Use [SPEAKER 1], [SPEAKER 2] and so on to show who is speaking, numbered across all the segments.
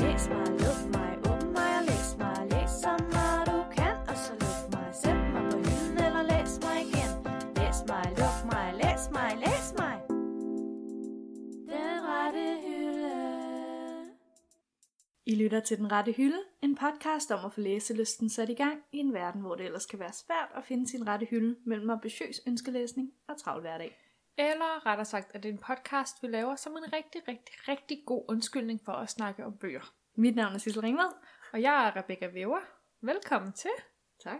[SPEAKER 1] læs mig, luk mig, åbn mig og læs mig. Læs så meget du kan, og så luk mig. Sæt mig på hylden eller læs mig igen. Læs mig, luk mig, læs mig, læs mig. Den rette hylde.
[SPEAKER 2] I lytter til Den Rette Hylde, en podcast om at få læselysten sat i gang i en verden, hvor det ellers kan være svært at finde sin rette hylde mellem ambitiøs ønskelæsning og travl hverdag.
[SPEAKER 3] Eller rettere sagt, at det er en podcast, vi laver som en rigtig, rigtig, rigtig god undskyldning for at snakke om bøger.
[SPEAKER 2] Mit navn er Sissel Ringvad.
[SPEAKER 3] Og jeg er Rebecca Wever. Velkommen til.
[SPEAKER 2] Tak.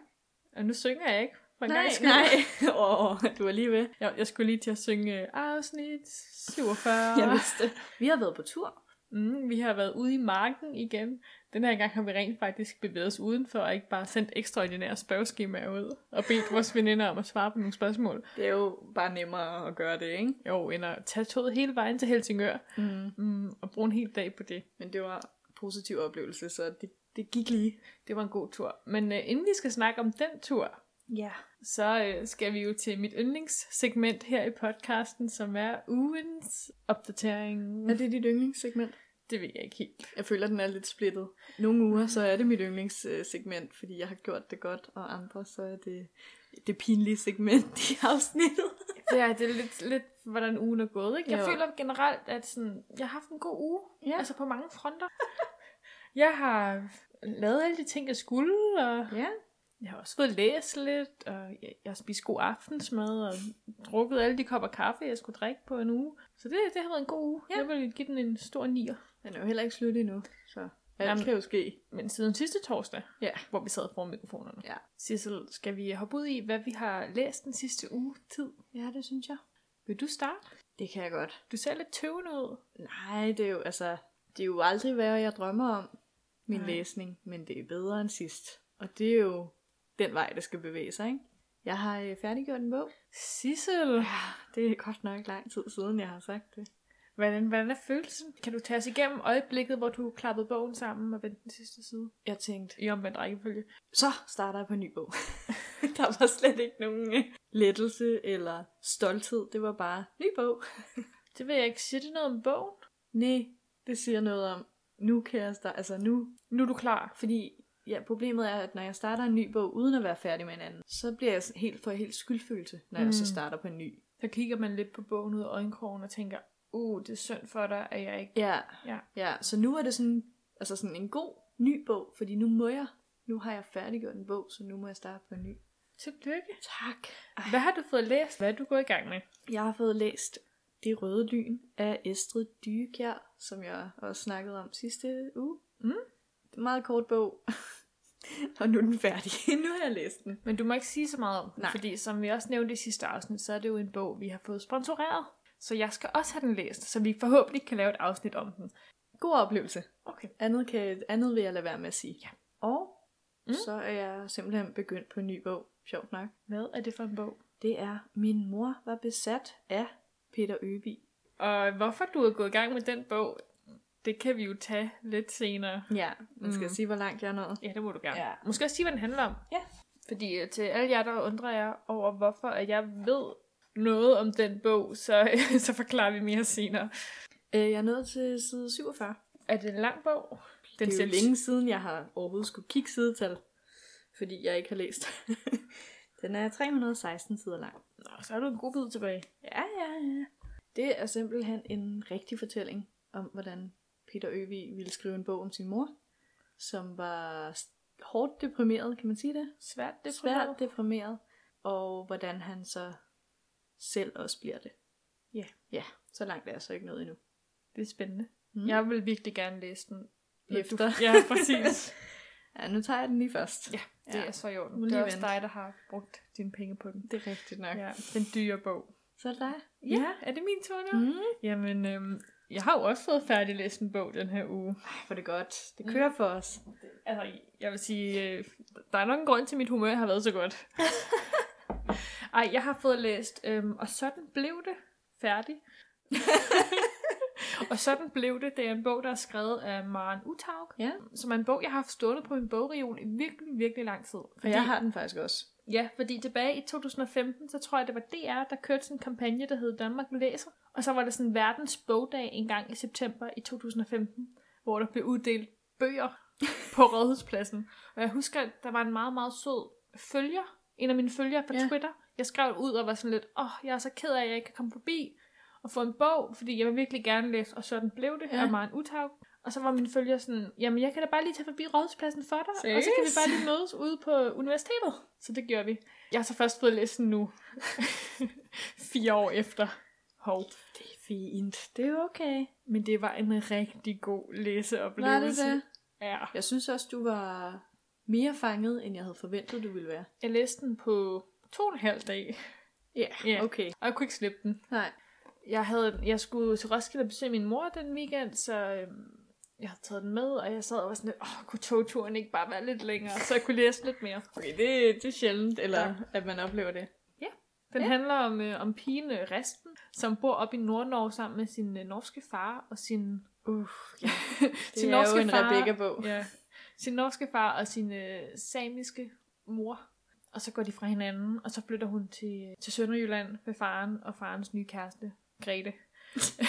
[SPEAKER 2] Og
[SPEAKER 3] Og nu synger jeg ikke. For en
[SPEAKER 2] nej,
[SPEAKER 3] gangs skyld.
[SPEAKER 2] nej. Åh, oh, du er lige ved.
[SPEAKER 3] Jeg, jeg skulle lige til at synge øh, afsnit 47.
[SPEAKER 2] Jeg vidste det. Vi har været på tur.
[SPEAKER 3] Mm, vi har været ude i marken igen. Den her gang har vi rent faktisk bevæget os udenfor, og ikke bare sendt ekstraordinære spørgeskemaer ud, og bedt vores veninder om at svare på nogle spørgsmål.
[SPEAKER 2] Det er jo bare nemmere at gøre det, ikke?
[SPEAKER 3] Jo, end at tage toget hele vejen til Helsingør,
[SPEAKER 2] Mm.
[SPEAKER 3] mm, og bruge en hel dag på det.
[SPEAKER 2] Men det var en positiv oplevelse, så det, det gik lige.
[SPEAKER 3] Det var en god tur. Men øh, inden vi skal snakke om den tur,
[SPEAKER 2] Ja.
[SPEAKER 3] så øh, skal vi jo til mit yndlingssegment her i podcasten, som er ugens opdatering.
[SPEAKER 2] Er det dit yndlingssegment?
[SPEAKER 3] Det ved jeg ikke helt.
[SPEAKER 2] Jeg føler, den er lidt splittet. Nogle uger, så er det mit yndlingssegment, fordi jeg har gjort det godt, og andre, så er det det pinlige segment i afsnittet.
[SPEAKER 3] Det er, det er lidt, lidt, hvordan ugen er gået. Ikke? Jeg
[SPEAKER 2] Jo.
[SPEAKER 3] jo. føler generelt, at sådan, jeg har haft en god uge.
[SPEAKER 2] Ja.
[SPEAKER 3] Altså på mange fronter. jeg har lavet alle de ting, jeg skulle, og
[SPEAKER 2] Ja.
[SPEAKER 3] jeg har også fået læst lidt, og jeg, jeg har spist god aftensmad, og drukket alle de kopper kaffe, jeg skulle drikke på en uge. Så det, det har været en god uge.
[SPEAKER 2] Ja.
[SPEAKER 3] Jeg vil give den en stor nier.
[SPEAKER 2] Den er jo heller ikke slut endnu, så alt Jamen.
[SPEAKER 3] Jamen.
[SPEAKER 2] kan jo ske.
[SPEAKER 3] Men siden sidste torsdag,
[SPEAKER 2] Ja.
[SPEAKER 3] hvor vi sad foran mikrofonerne.
[SPEAKER 2] Ja.
[SPEAKER 3] Sissel, skal vi hoppe ud i, hvad vi har læst den sidste uge tid?
[SPEAKER 2] Ja, det synes jeg.
[SPEAKER 3] Vil du starte?
[SPEAKER 2] Det kan jeg godt.
[SPEAKER 3] Du ser lidt tøvende ud.
[SPEAKER 2] Nej, det er jo, altså, det er jo aldrig, hvad jeg drømmer om, min Nej.
[SPEAKER 3] Nej.
[SPEAKER 2] læsning, men det er bedre end sidst. Og det er jo den vej, der skal bevæge sig, ikke? Jeg har øh, færdiggjort en bog.
[SPEAKER 3] Sissel,
[SPEAKER 2] Det er godt nok lang tid siden, jeg har sagt det.
[SPEAKER 3] hvordan, hvordan er følelsen? Kan du tage os igennem øjeblikket, hvor du klappede bogen sammen og vendte den sidste side?
[SPEAKER 2] Jeg tænkte,
[SPEAKER 3] I omvendt rækkefølge.
[SPEAKER 2] så starter jeg på en ny bog. der var slet ikke nogen øh, lettelse eller stolthed. Det var bare ny bog.
[SPEAKER 3] Det vil jeg ikke sige det noget om bogen.
[SPEAKER 2] Nej, det siger noget om, nu kan jeg starte, altså nu.
[SPEAKER 3] Nu er du klar.
[SPEAKER 2] Fordi ja, problemet er, at når jeg starter en ny bog uden at være færdig med en anden, så bliver jeg sådan helt for helt skyldfølelse, når mm. jeg så
[SPEAKER 3] Mm.
[SPEAKER 2] starter på en ny.
[SPEAKER 3] Så kigger man lidt på bogen ud af øjenkrogen og tænker, uh, det er synd for dig, at jeg ikke...
[SPEAKER 2] Ja,
[SPEAKER 3] Ja.
[SPEAKER 2] ja. Så nu er det sådan, altså sådan en god ny bog, fordi nu må jeg, nu har jeg færdiggjort en bog, så nu må jeg starte på en ny.
[SPEAKER 3] Tillykke.
[SPEAKER 2] Tak.
[SPEAKER 3] Hvad har du fået læst? Hvad er du gået i gang med?
[SPEAKER 2] Jeg har fået læst Det Røde Lyn af Estrid Dykjær, som jeg også snakkede om sidste uge.
[SPEAKER 3] Mm.
[SPEAKER 2] Det er en meget kort bog, og nu er den færdig. nu har jeg læst den.
[SPEAKER 3] Men du må ikke sige så meget om den,
[SPEAKER 2] Nej.
[SPEAKER 3] fordi som vi også nævnte i sidste afsnit, så er det jo en bog, vi har fået sponsoreret. Så jeg skal også have den læst, så vi forhåbentlig kan lave et afsnit om den.
[SPEAKER 2] God oplevelse.
[SPEAKER 3] Okay.
[SPEAKER 2] Andet, kan, andet vil jeg lade være med at sige.
[SPEAKER 3] Ja.
[SPEAKER 2] Og mm.
[SPEAKER 3] Mm.
[SPEAKER 2] så er jeg simpelthen begyndt på en ny bog. Sjovt nok.
[SPEAKER 3] Hvad er det for en bog?
[SPEAKER 2] Det er Min mor var besat af Peter Øvig.
[SPEAKER 3] Og hvorfor du er gået i gang med den bog, det kan vi jo tage lidt senere.
[SPEAKER 2] Ja, man skal mm.
[SPEAKER 3] Mm.
[SPEAKER 2] sige, hvor langt jeg er nået.
[SPEAKER 3] Ja, det må du gerne.
[SPEAKER 2] Ja.
[SPEAKER 3] Måske også sige, hvad den handler om.
[SPEAKER 2] Ja.
[SPEAKER 3] Fordi øh, til alle jer, der undrer jer over, hvorfor at jeg ved noget om den bog, så, så forklarer vi mere senere.
[SPEAKER 2] Øh, Jeg er nået til side 47.
[SPEAKER 3] Er det en lang bog?
[SPEAKER 2] Den det er
[SPEAKER 3] ser
[SPEAKER 2] jo længe siden, jeg har overhovedet skulle kigge sidetal, fordi jeg ikke har læst. den er 316 sider lang.
[SPEAKER 3] Nå, så er du en god bid tilbage.
[SPEAKER 2] Ja, ja, ja. Det er simpelthen en rigtig fortælling om, hvordan Peter Øvig ville skrive en bog om sin mor, som var s- hårdt deprimeret, kan man sige det?
[SPEAKER 3] Svært det
[SPEAKER 2] Svært deprimeret. Og hvordan han så selv også bliver det.
[SPEAKER 3] Ja.
[SPEAKER 2] Ja, så langt er jeg så ikke nået endnu.
[SPEAKER 3] Det er spændende.
[SPEAKER 2] Mm.
[SPEAKER 3] Mm. Jeg vil virkelig gerne læse den. Men
[SPEAKER 2] Efter.
[SPEAKER 3] Du, ja, præcis.
[SPEAKER 2] Ja, nu tager jeg den lige først.
[SPEAKER 3] ja, det er så i
[SPEAKER 2] Må
[SPEAKER 3] orden.
[SPEAKER 2] lige
[SPEAKER 3] Det er også
[SPEAKER 2] vente.
[SPEAKER 3] dig, der har brugt dine penge på den.
[SPEAKER 2] det er rigtigt nok.
[SPEAKER 3] Ja, den dyre bog.
[SPEAKER 2] Så er det dig.
[SPEAKER 3] Ja, ja er det min tur nu? Mm.
[SPEAKER 2] Mm.
[SPEAKER 3] Jamen, øhm, jeg har jo også fået færdiglæst en bog den her uge.
[SPEAKER 2] Ej, hvor er det godt. Det kører for os.
[SPEAKER 3] Altså, jeg vil sige, øh, der er nok en grund til, at mit humør har været så godt. Ej, jeg har fået læst, øhm, og sådan blev det færdig. og sådan blev det. Det er en bog, der er skrevet af Maren Utaug,
[SPEAKER 2] Ja.
[SPEAKER 3] som er en bog, jeg har haft stående på min bogreol i virkelig, virkelig lang tid.
[SPEAKER 2] Og jeg har den faktisk også.
[SPEAKER 3] Ja, fordi tilbage i 2015, så tror jeg, det var DR, der kørte sådan en kampagne, der hed Danmark Læser. Og så var der sådan verdens bogdag en gang i september i 2015, hvor der blev uddelt bøger på Rådhuspladsen. Og jeg husker, at der var en meget, meget sød følger, en af mine følgere på
[SPEAKER 2] Ja.
[SPEAKER 3] ja. Twitter. Jeg skrev ud og var sådan lidt, åh, oh, jeg er så ked af, at jeg ikke kan komme forbi og få en bog, fordi jeg vil virkelig gerne læse, og sådan blev det,
[SPEAKER 2] Ja.
[SPEAKER 3] ja. af Maren Uthaug. Og så var min følger sådan, jamen jeg kan da bare lige tage forbi Rådhuspladsen for dig, og så kan vi
[SPEAKER 2] Seriøst?
[SPEAKER 3] bare lige mødes ude på universitetet. Så det gjorde vi. Jeg har så først fået læst den nu, fire år efter. Hov.
[SPEAKER 2] Det er fint. Det er okay.
[SPEAKER 3] Men det var en rigtig god
[SPEAKER 2] Nej, det
[SPEAKER 3] læseoplevelse.
[SPEAKER 2] er det.
[SPEAKER 3] Ja.
[SPEAKER 2] Jeg synes også, du var mere fanget, end jeg havde forventet, du ville være.
[SPEAKER 3] Jeg læste den på to og en halv dag,
[SPEAKER 2] Ja,
[SPEAKER 3] Ja.
[SPEAKER 2] okay.
[SPEAKER 3] og jeg kunne ikke slippe den.
[SPEAKER 2] Nej.
[SPEAKER 3] Jeg, havde, jeg skulle til Roskilde og besøge min mor den weekend, så øhm, jeg havde taget den med, og jeg sad og var sådan lidt, åh, kunne togturen ikke bare være lidt længere, så jeg kunne læse lidt mere.
[SPEAKER 2] Okay, det, det er sjældent, eller
[SPEAKER 3] Ja.
[SPEAKER 2] at man oplever det.
[SPEAKER 3] Den
[SPEAKER 2] Ja.
[SPEAKER 3] ja. handler om, øh, om pigen øh, Resten, som bor op i Nordnorge sammen med sin øh, norske far og sin...
[SPEAKER 2] Uff, ja. Det
[SPEAKER 3] sin
[SPEAKER 2] er jo en Rebecca-bog.
[SPEAKER 3] Ja. Sin norske far og sin øh, samiske mor. Og så går de fra hinanden, og så flytter hun til, til Sønderjylland med faren og farens nye kæreste, Grete.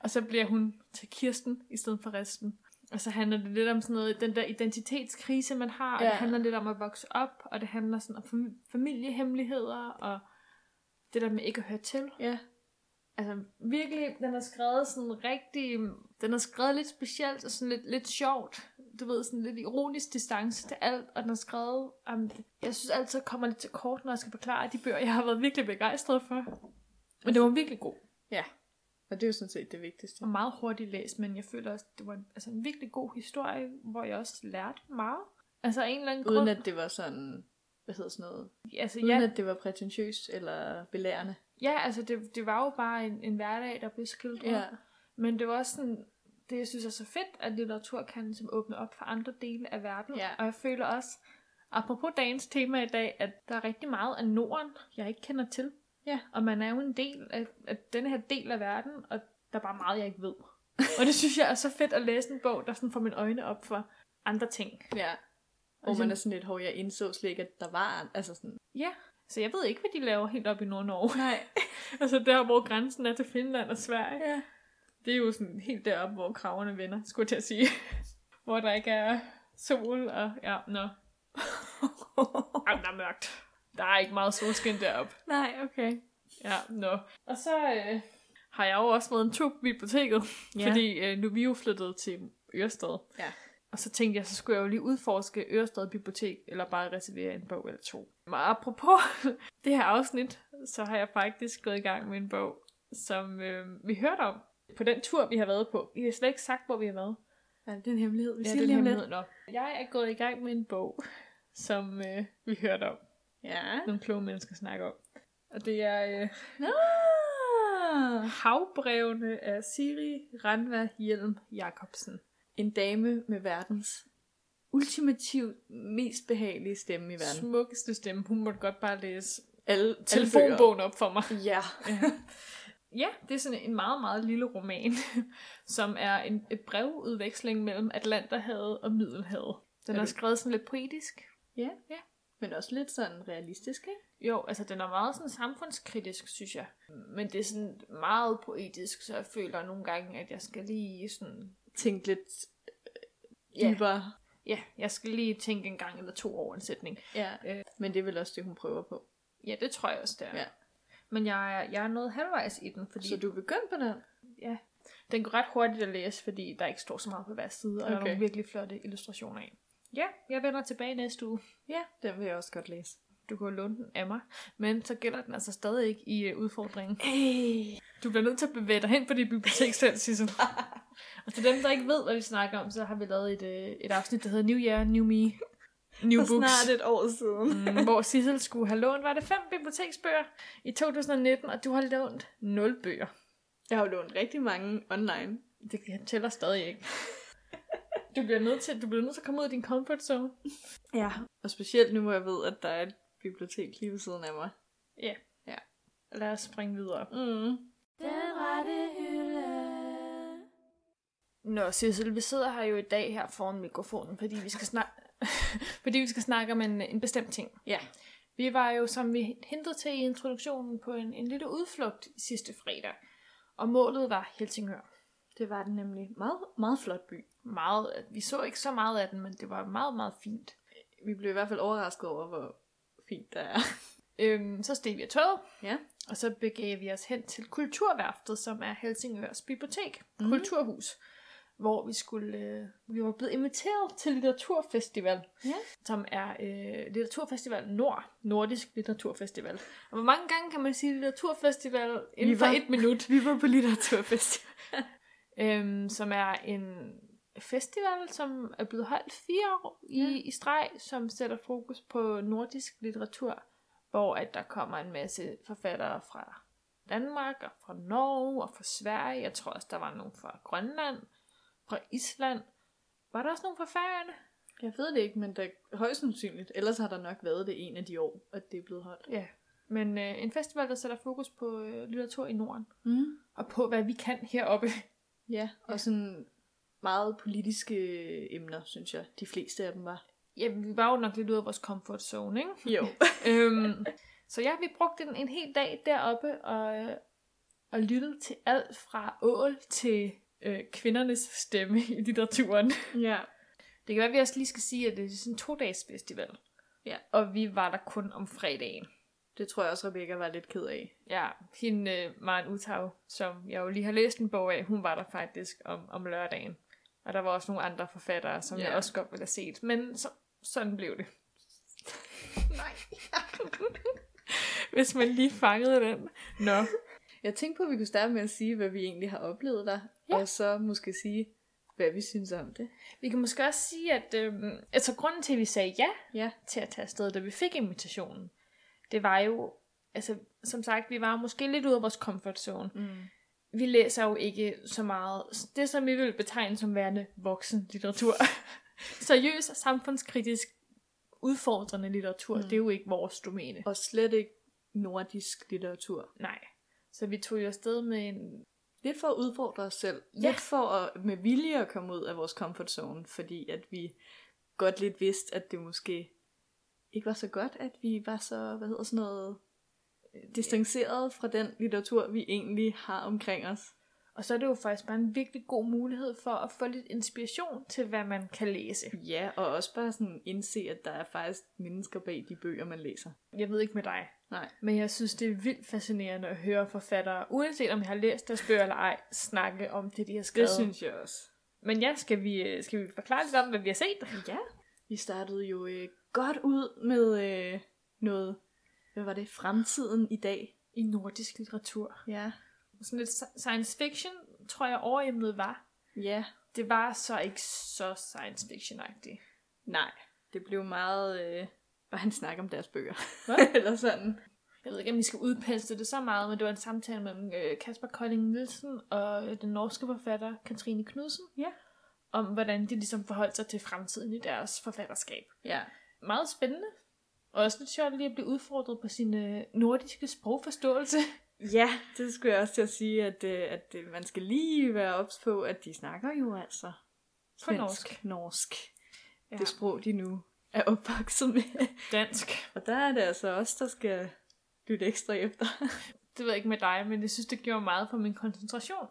[SPEAKER 3] og så bliver hun til Kirsten i stedet for resten. Og så handler det lidt om sådan noget, den der identitetskrise, man har, ja. og
[SPEAKER 2] Ja.
[SPEAKER 3] det handler lidt om at vokse op, og det handler sådan om fam- familiehemmeligheder, og det der med ikke at høre til.
[SPEAKER 2] Ja.
[SPEAKER 3] Altså virkelig, den er skrevet sådan rigtig, den er skrevet lidt specielt og sådan lidt, lidt sjovt. Du ved, sådan lidt ironisk distance til alt, og den er skrevet, um, jeg synes altid, jeg kommer lidt til kort, når jeg skal forklare de bøger, jeg har været virkelig begejstret for. Men det var virkelig god,
[SPEAKER 2] Ja. Og det er jo sådan set det vigtigste.
[SPEAKER 3] og meget hurtigt læst, men jeg føler også, det var en, altså en virkelig god historie, hvor jeg også lærte meget. Altså af en eller anden
[SPEAKER 2] Uden
[SPEAKER 3] grund.
[SPEAKER 2] at det var sådan, hvad hedder sådan noget?
[SPEAKER 3] altså,
[SPEAKER 2] Uden
[SPEAKER 3] ja,
[SPEAKER 2] at det var prætentiøst eller belærende.
[SPEAKER 3] ja, altså det, det var jo bare en, en hverdag, der blev skildret. Men det var også sådan, det jeg synes er så fedt, at litteratur kan ligesom åbne op for andre dele af verden.
[SPEAKER 2] Ja.
[SPEAKER 3] Og jeg føler også, apropos dagens tema i dag, at der er rigtig meget af Norden, jeg ikke kender til.
[SPEAKER 2] Ja.
[SPEAKER 3] Og man er jo en del af, af den her del af verden, og der er bare meget, jeg ikke ved. og det synes jeg er så fedt at læse en bog, der sådan får mine øjne op for andre ting.
[SPEAKER 2] ja. Hvor man er sådan lidt hård, jeg indså slet ikke, at der var, en- altså sådan,
[SPEAKER 3] Ja, så jeg ved ikke, hvad de laver helt op i Nord-Norge.
[SPEAKER 2] nej,
[SPEAKER 3] altså der, hvor grænsen er til Finland og Sverige.
[SPEAKER 2] ja.
[SPEAKER 3] Det er jo sådan helt deroppe, hvor kraverne vender, skulle jeg til at sige. hvor der ikke er sol, og ja, nå. Jamen, der er mørkt. Der er ikke meget solskin deroppe.
[SPEAKER 2] nej, okay.
[SPEAKER 3] Ja, nå. Og så øh, har jeg jo også været en tur på biblioteket,
[SPEAKER 2] Ja.
[SPEAKER 3] ja. fordi øh, nu er vi jo flyttet til Ørsted.
[SPEAKER 2] Ja.
[SPEAKER 3] Og så tænkte jeg, så skulle jeg jo lige udforske Ørsted Bibliotek, eller bare reservere en bog eller to. Men apropos det her afsnit, så har jeg faktisk gået i gang med en bog, som øh, vi hørte om på den tur, vi har været på. Vi har slet ikke sagt, hvor vi har været.
[SPEAKER 2] Ja, det er en hemmelighed. Vi
[SPEAKER 3] Ja,
[SPEAKER 2] siger
[SPEAKER 3] den
[SPEAKER 2] lige om lidt.
[SPEAKER 3] hemmelighed. Nå. Jeg er gået i gang med en bog, som øh, vi hørte om.
[SPEAKER 2] Ja.
[SPEAKER 3] Nogle kloge mennesker snakker om. Og det er øh,
[SPEAKER 2] Nå.
[SPEAKER 3] Havbrevene af Siri Ranva Hjelm Jacobsen.
[SPEAKER 2] En dame med verdens ultimativt mest behagelige stemme i verden.
[SPEAKER 3] Smukkeste stemme. Hun måtte godt bare læse
[SPEAKER 2] Alle
[SPEAKER 3] telefonbogen op for mig.
[SPEAKER 2] telefonbøger. Ja.
[SPEAKER 3] Ja, det er sådan en meget, meget lille roman, som er en et brevudveksling mellem Atlanterhavet og Middelhavet. Den
[SPEAKER 2] Er
[SPEAKER 3] er,
[SPEAKER 2] du-
[SPEAKER 3] skrevet sådan lidt poetisk.
[SPEAKER 2] Ja.
[SPEAKER 3] Ja.
[SPEAKER 2] Men også lidt sådan realistisk, ikke?
[SPEAKER 3] Jo, altså den er meget sådan samfundskritisk, synes jeg. Men det er sådan meget poetisk, så jeg føler nogle gange, at jeg skal lige sådan...
[SPEAKER 2] Tænk lidt øh,
[SPEAKER 3] Ja.
[SPEAKER 2] dybere.
[SPEAKER 3] Ja, jeg skal lige tænke en gang eller to over en sætning.
[SPEAKER 2] Ja. ja. Men det er vel også det, hun prøver på.
[SPEAKER 3] Ja, det tror jeg også, det er.
[SPEAKER 2] Ja.
[SPEAKER 3] Men jeg, er- jeg er nået halvvejs i den, fordi
[SPEAKER 2] Så du er begyndt på den?
[SPEAKER 3] ja, den går ret hurtigt at læse, fordi der ikke står så meget på hver side, og okay. der er
[SPEAKER 2] Okay.
[SPEAKER 3] nogle virkelig flotte illustrationer af. Ja, jeg vender tilbage næste uge.
[SPEAKER 2] Ja. Den vil jeg også godt læse.
[SPEAKER 3] Du kan jo låne den af mig, men så gælder den altså stadig ikke i øh, udfordringen.
[SPEAKER 2] Hey.
[SPEAKER 3] Du bliver nødt til at bevæge dig hen på dit bibliotek selv, Sissel. og til dem, der ikke ved, hvad vi snakker om, så har vi lavet et, øh, et afsnit, der hedder New Year, New Me, New
[SPEAKER 2] For
[SPEAKER 3] Books.
[SPEAKER 2] snart et år siden.
[SPEAKER 3] Mm, hvor Sissel skulle have lånt, var det fem biblioteksbøger i 2019, og du har lånt nul bøger.
[SPEAKER 2] Jeg har jo lånt rigtig mange online.
[SPEAKER 3] Det tæller stadig ikke. Du bliver nødt til, du bliver nødt til at komme ud af din comfort zone.
[SPEAKER 2] Ja. Og specielt nu, hvor jeg ved, at der er et bibliotek lige ved siden af mig.
[SPEAKER 3] Ja.
[SPEAKER 2] Ja.
[SPEAKER 3] Lad os springe videre.
[SPEAKER 2] Mm.
[SPEAKER 1] Den rette hylde.
[SPEAKER 3] Nå, Sissel, vi sidder her jo i dag her foran mikrofonen, fordi vi skal snakke, fordi vi skal snakke om en, en bestemt ting.
[SPEAKER 2] Ja.
[SPEAKER 3] Vi var jo, som vi hintede til i introduktionen, på en, en lille udflugt sidste fredag. Og målet var Helsingør.
[SPEAKER 2] Det var den nemlig. Meget, meget flot by.
[SPEAKER 3] meget, vi så ikke så meget af den, men det var meget, meget fint.
[SPEAKER 2] Vi blev i hvert fald overrasket over, hvor fint der er.
[SPEAKER 3] Øhm, så steg vi af toget,
[SPEAKER 2] Ja.
[SPEAKER 3] og så begav vi os hen til Kulturværftet, som er Helsingørs bibliotek,
[SPEAKER 2] Mhm.
[SPEAKER 3] mm. kulturhus, hvor vi skulle, øh, vi var blevet inviteret til litteraturfestival,
[SPEAKER 2] Ja.
[SPEAKER 3] som er øh, litteraturfestival Nord, nordisk litteraturfestival. Og hvor mange gange kan man sige litteraturfestival inden
[SPEAKER 2] Vi
[SPEAKER 3] for
[SPEAKER 2] var-
[SPEAKER 3] et minut?
[SPEAKER 2] Vi var på litteraturfest.
[SPEAKER 3] øhm, som er en festival, som er blevet holdt fire år i,
[SPEAKER 2] Ja.
[SPEAKER 3] ja. i streg, som sætter fokus på nordisk litteratur, hvor at der kommer en masse forfattere fra Danmark og fra Norge og fra Sverige. Jeg tror også, der var nogen fra Grønland, fra Island. Var der også nogen fra Færøerne?
[SPEAKER 2] Jeg ved det ikke, men der højst sandsynligt. Ellers har der nok været det en af de år, at det er blevet holdt.
[SPEAKER 3] Ja. Men øh, en festival, der sætter fokus på øh, litteratur i Norden.
[SPEAKER 2] Mm.
[SPEAKER 3] Og på, hvad vi kan heroppe.
[SPEAKER 2] Ja, og sådan meget politiske emner, synes jeg. De fleste af dem var.
[SPEAKER 3] Ja, vi var jo nok lidt ude af vores comfort zone, ikke?
[SPEAKER 2] Jo.
[SPEAKER 3] øhm, så ja, vi brugte en, en hel dag deroppe og, øh, og lyttede til alt fra ål til øh, kvindernes stemme i litteraturen.
[SPEAKER 2] ja.
[SPEAKER 3] Det kan være, at vi også lige skal sige, at det er sådan en to-dages festival.
[SPEAKER 2] Ja.
[SPEAKER 3] Og vi var der kun om fredagen.
[SPEAKER 2] Det tror jeg også, Rebecca var lidt ked af.
[SPEAKER 3] Ja, hende øh, Maren Uthav, som jeg jo lige har læst en bog af, hun var der faktisk om, om lørdagen. Og der var også nogle andre forfattere, som
[SPEAKER 2] Ja.
[SPEAKER 3] jeg også godt ville have set. Men så, sådan blev det. Nej. Hvis man lige fangede den. Nå.
[SPEAKER 2] Jeg tænkte på, at vi kunne starte med at sige, hvad vi egentlig har oplevet der. Ja.
[SPEAKER 3] Ja.
[SPEAKER 2] Og så måske sige, hvad vi synes om det.
[SPEAKER 3] Vi kan måske også sige, at øh, altså, grunden til, at vi sagde ja
[SPEAKER 2] Ja.
[SPEAKER 3] til at tage afsted, da vi fik invitationen, det var jo, altså som sagt, vi var måske lidt ude af vores comfort zone.
[SPEAKER 2] Mm.
[SPEAKER 3] vi læser jo ikke så meget det, som vi vil betegne som værende voksen litteratur. Seriøs og samfundskritisk udfordrende litteratur,
[SPEAKER 2] Mm.
[SPEAKER 3] mm. det er jo ikke vores domæne.
[SPEAKER 2] Og slet ikke nordisk litteratur.
[SPEAKER 3] Nej. Så vi tog jo afsted med en...
[SPEAKER 2] Lidt for at udfordre os selv. Ja.
[SPEAKER 3] Ja.
[SPEAKER 2] Lidt for at med vilje at komme ud af vores comfort zone, fordi at vi godt lidt vidste, at det måske ikke var så godt, at vi var så, hvad hedder sådan noget, Øh, distanceret fra den litteratur, vi egentlig har omkring os.
[SPEAKER 3] Og så er det jo faktisk bare en virkelig god mulighed for at få lidt inspiration til, hvad man kan læse.
[SPEAKER 2] Ja, og også bare sådan indse, at der er faktisk mennesker bag de bøger, man læser.
[SPEAKER 3] Jeg ved ikke med dig,
[SPEAKER 2] Nej.
[SPEAKER 3] men jeg synes, det er vildt fascinerende at høre forfattere, uanset om jeg har læst deres bøger eller ej, snakke om det, de har skrevet.
[SPEAKER 2] jeg også.
[SPEAKER 3] Men ja, skal vi, øh, skal vi forklare lidt om, hvad vi har set?
[SPEAKER 2] Ja. Vi startede jo øh, godt ud med øh, noget, hvad var det, fremtiden i dag.
[SPEAKER 3] I nordisk litteratur.
[SPEAKER 2] Ja.
[SPEAKER 3] sådan lidt sci- science fiction, tror jeg, overemnet var.
[SPEAKER 2] Ja.
[SPEAKER 3] Det var så ikke så science fiction-agtigt.
[SPEAKER 2] Nej. Det blev meget, øh, bare en snak om deres bøger.
[SPEAKER 3] Hvad?
[SPEAKER 2] Eller sådan.
[SPEAKER 3] Jeg ved ikke, om vi skal udpensle det så meget, men det var en samtale mellem øh, Kasper Kolding Nielsen og øh, den norske forfatter Katrine Knudsen.
[SPEAKER 2] Ja.
[SPEAKER 3] Om hvordan de ligesom forholdt sig til fremtiden i deres forfatterskab.
[SPEAKER 2] Ja.
[SPEAKER 3] Meget spændende. Og også lidt sjovt lige at blive udfordret på sin øh, nordiske sprogforståelse.
[SPEAKER 2] Ja, det skulle jeg også til at sige, at, øh, at øh, man skal lige være ops på, at de snakker jo altså
[SPEAKER 3] På norsk.
[SPEAKER 2] norsk. Ja.
[SPEAKER 3] Ja.
[SPEAKER 2] Det sprog, de nu er opvokset med.
[SPEAKER 3] Dansk.
[SPEAKER 2] Og der er det altså os, der skal lytte ekstra efter.
[SPEAKER 3] det ved jeg ikke med dig, men jeg synes, det gjorde meget for min koncentration.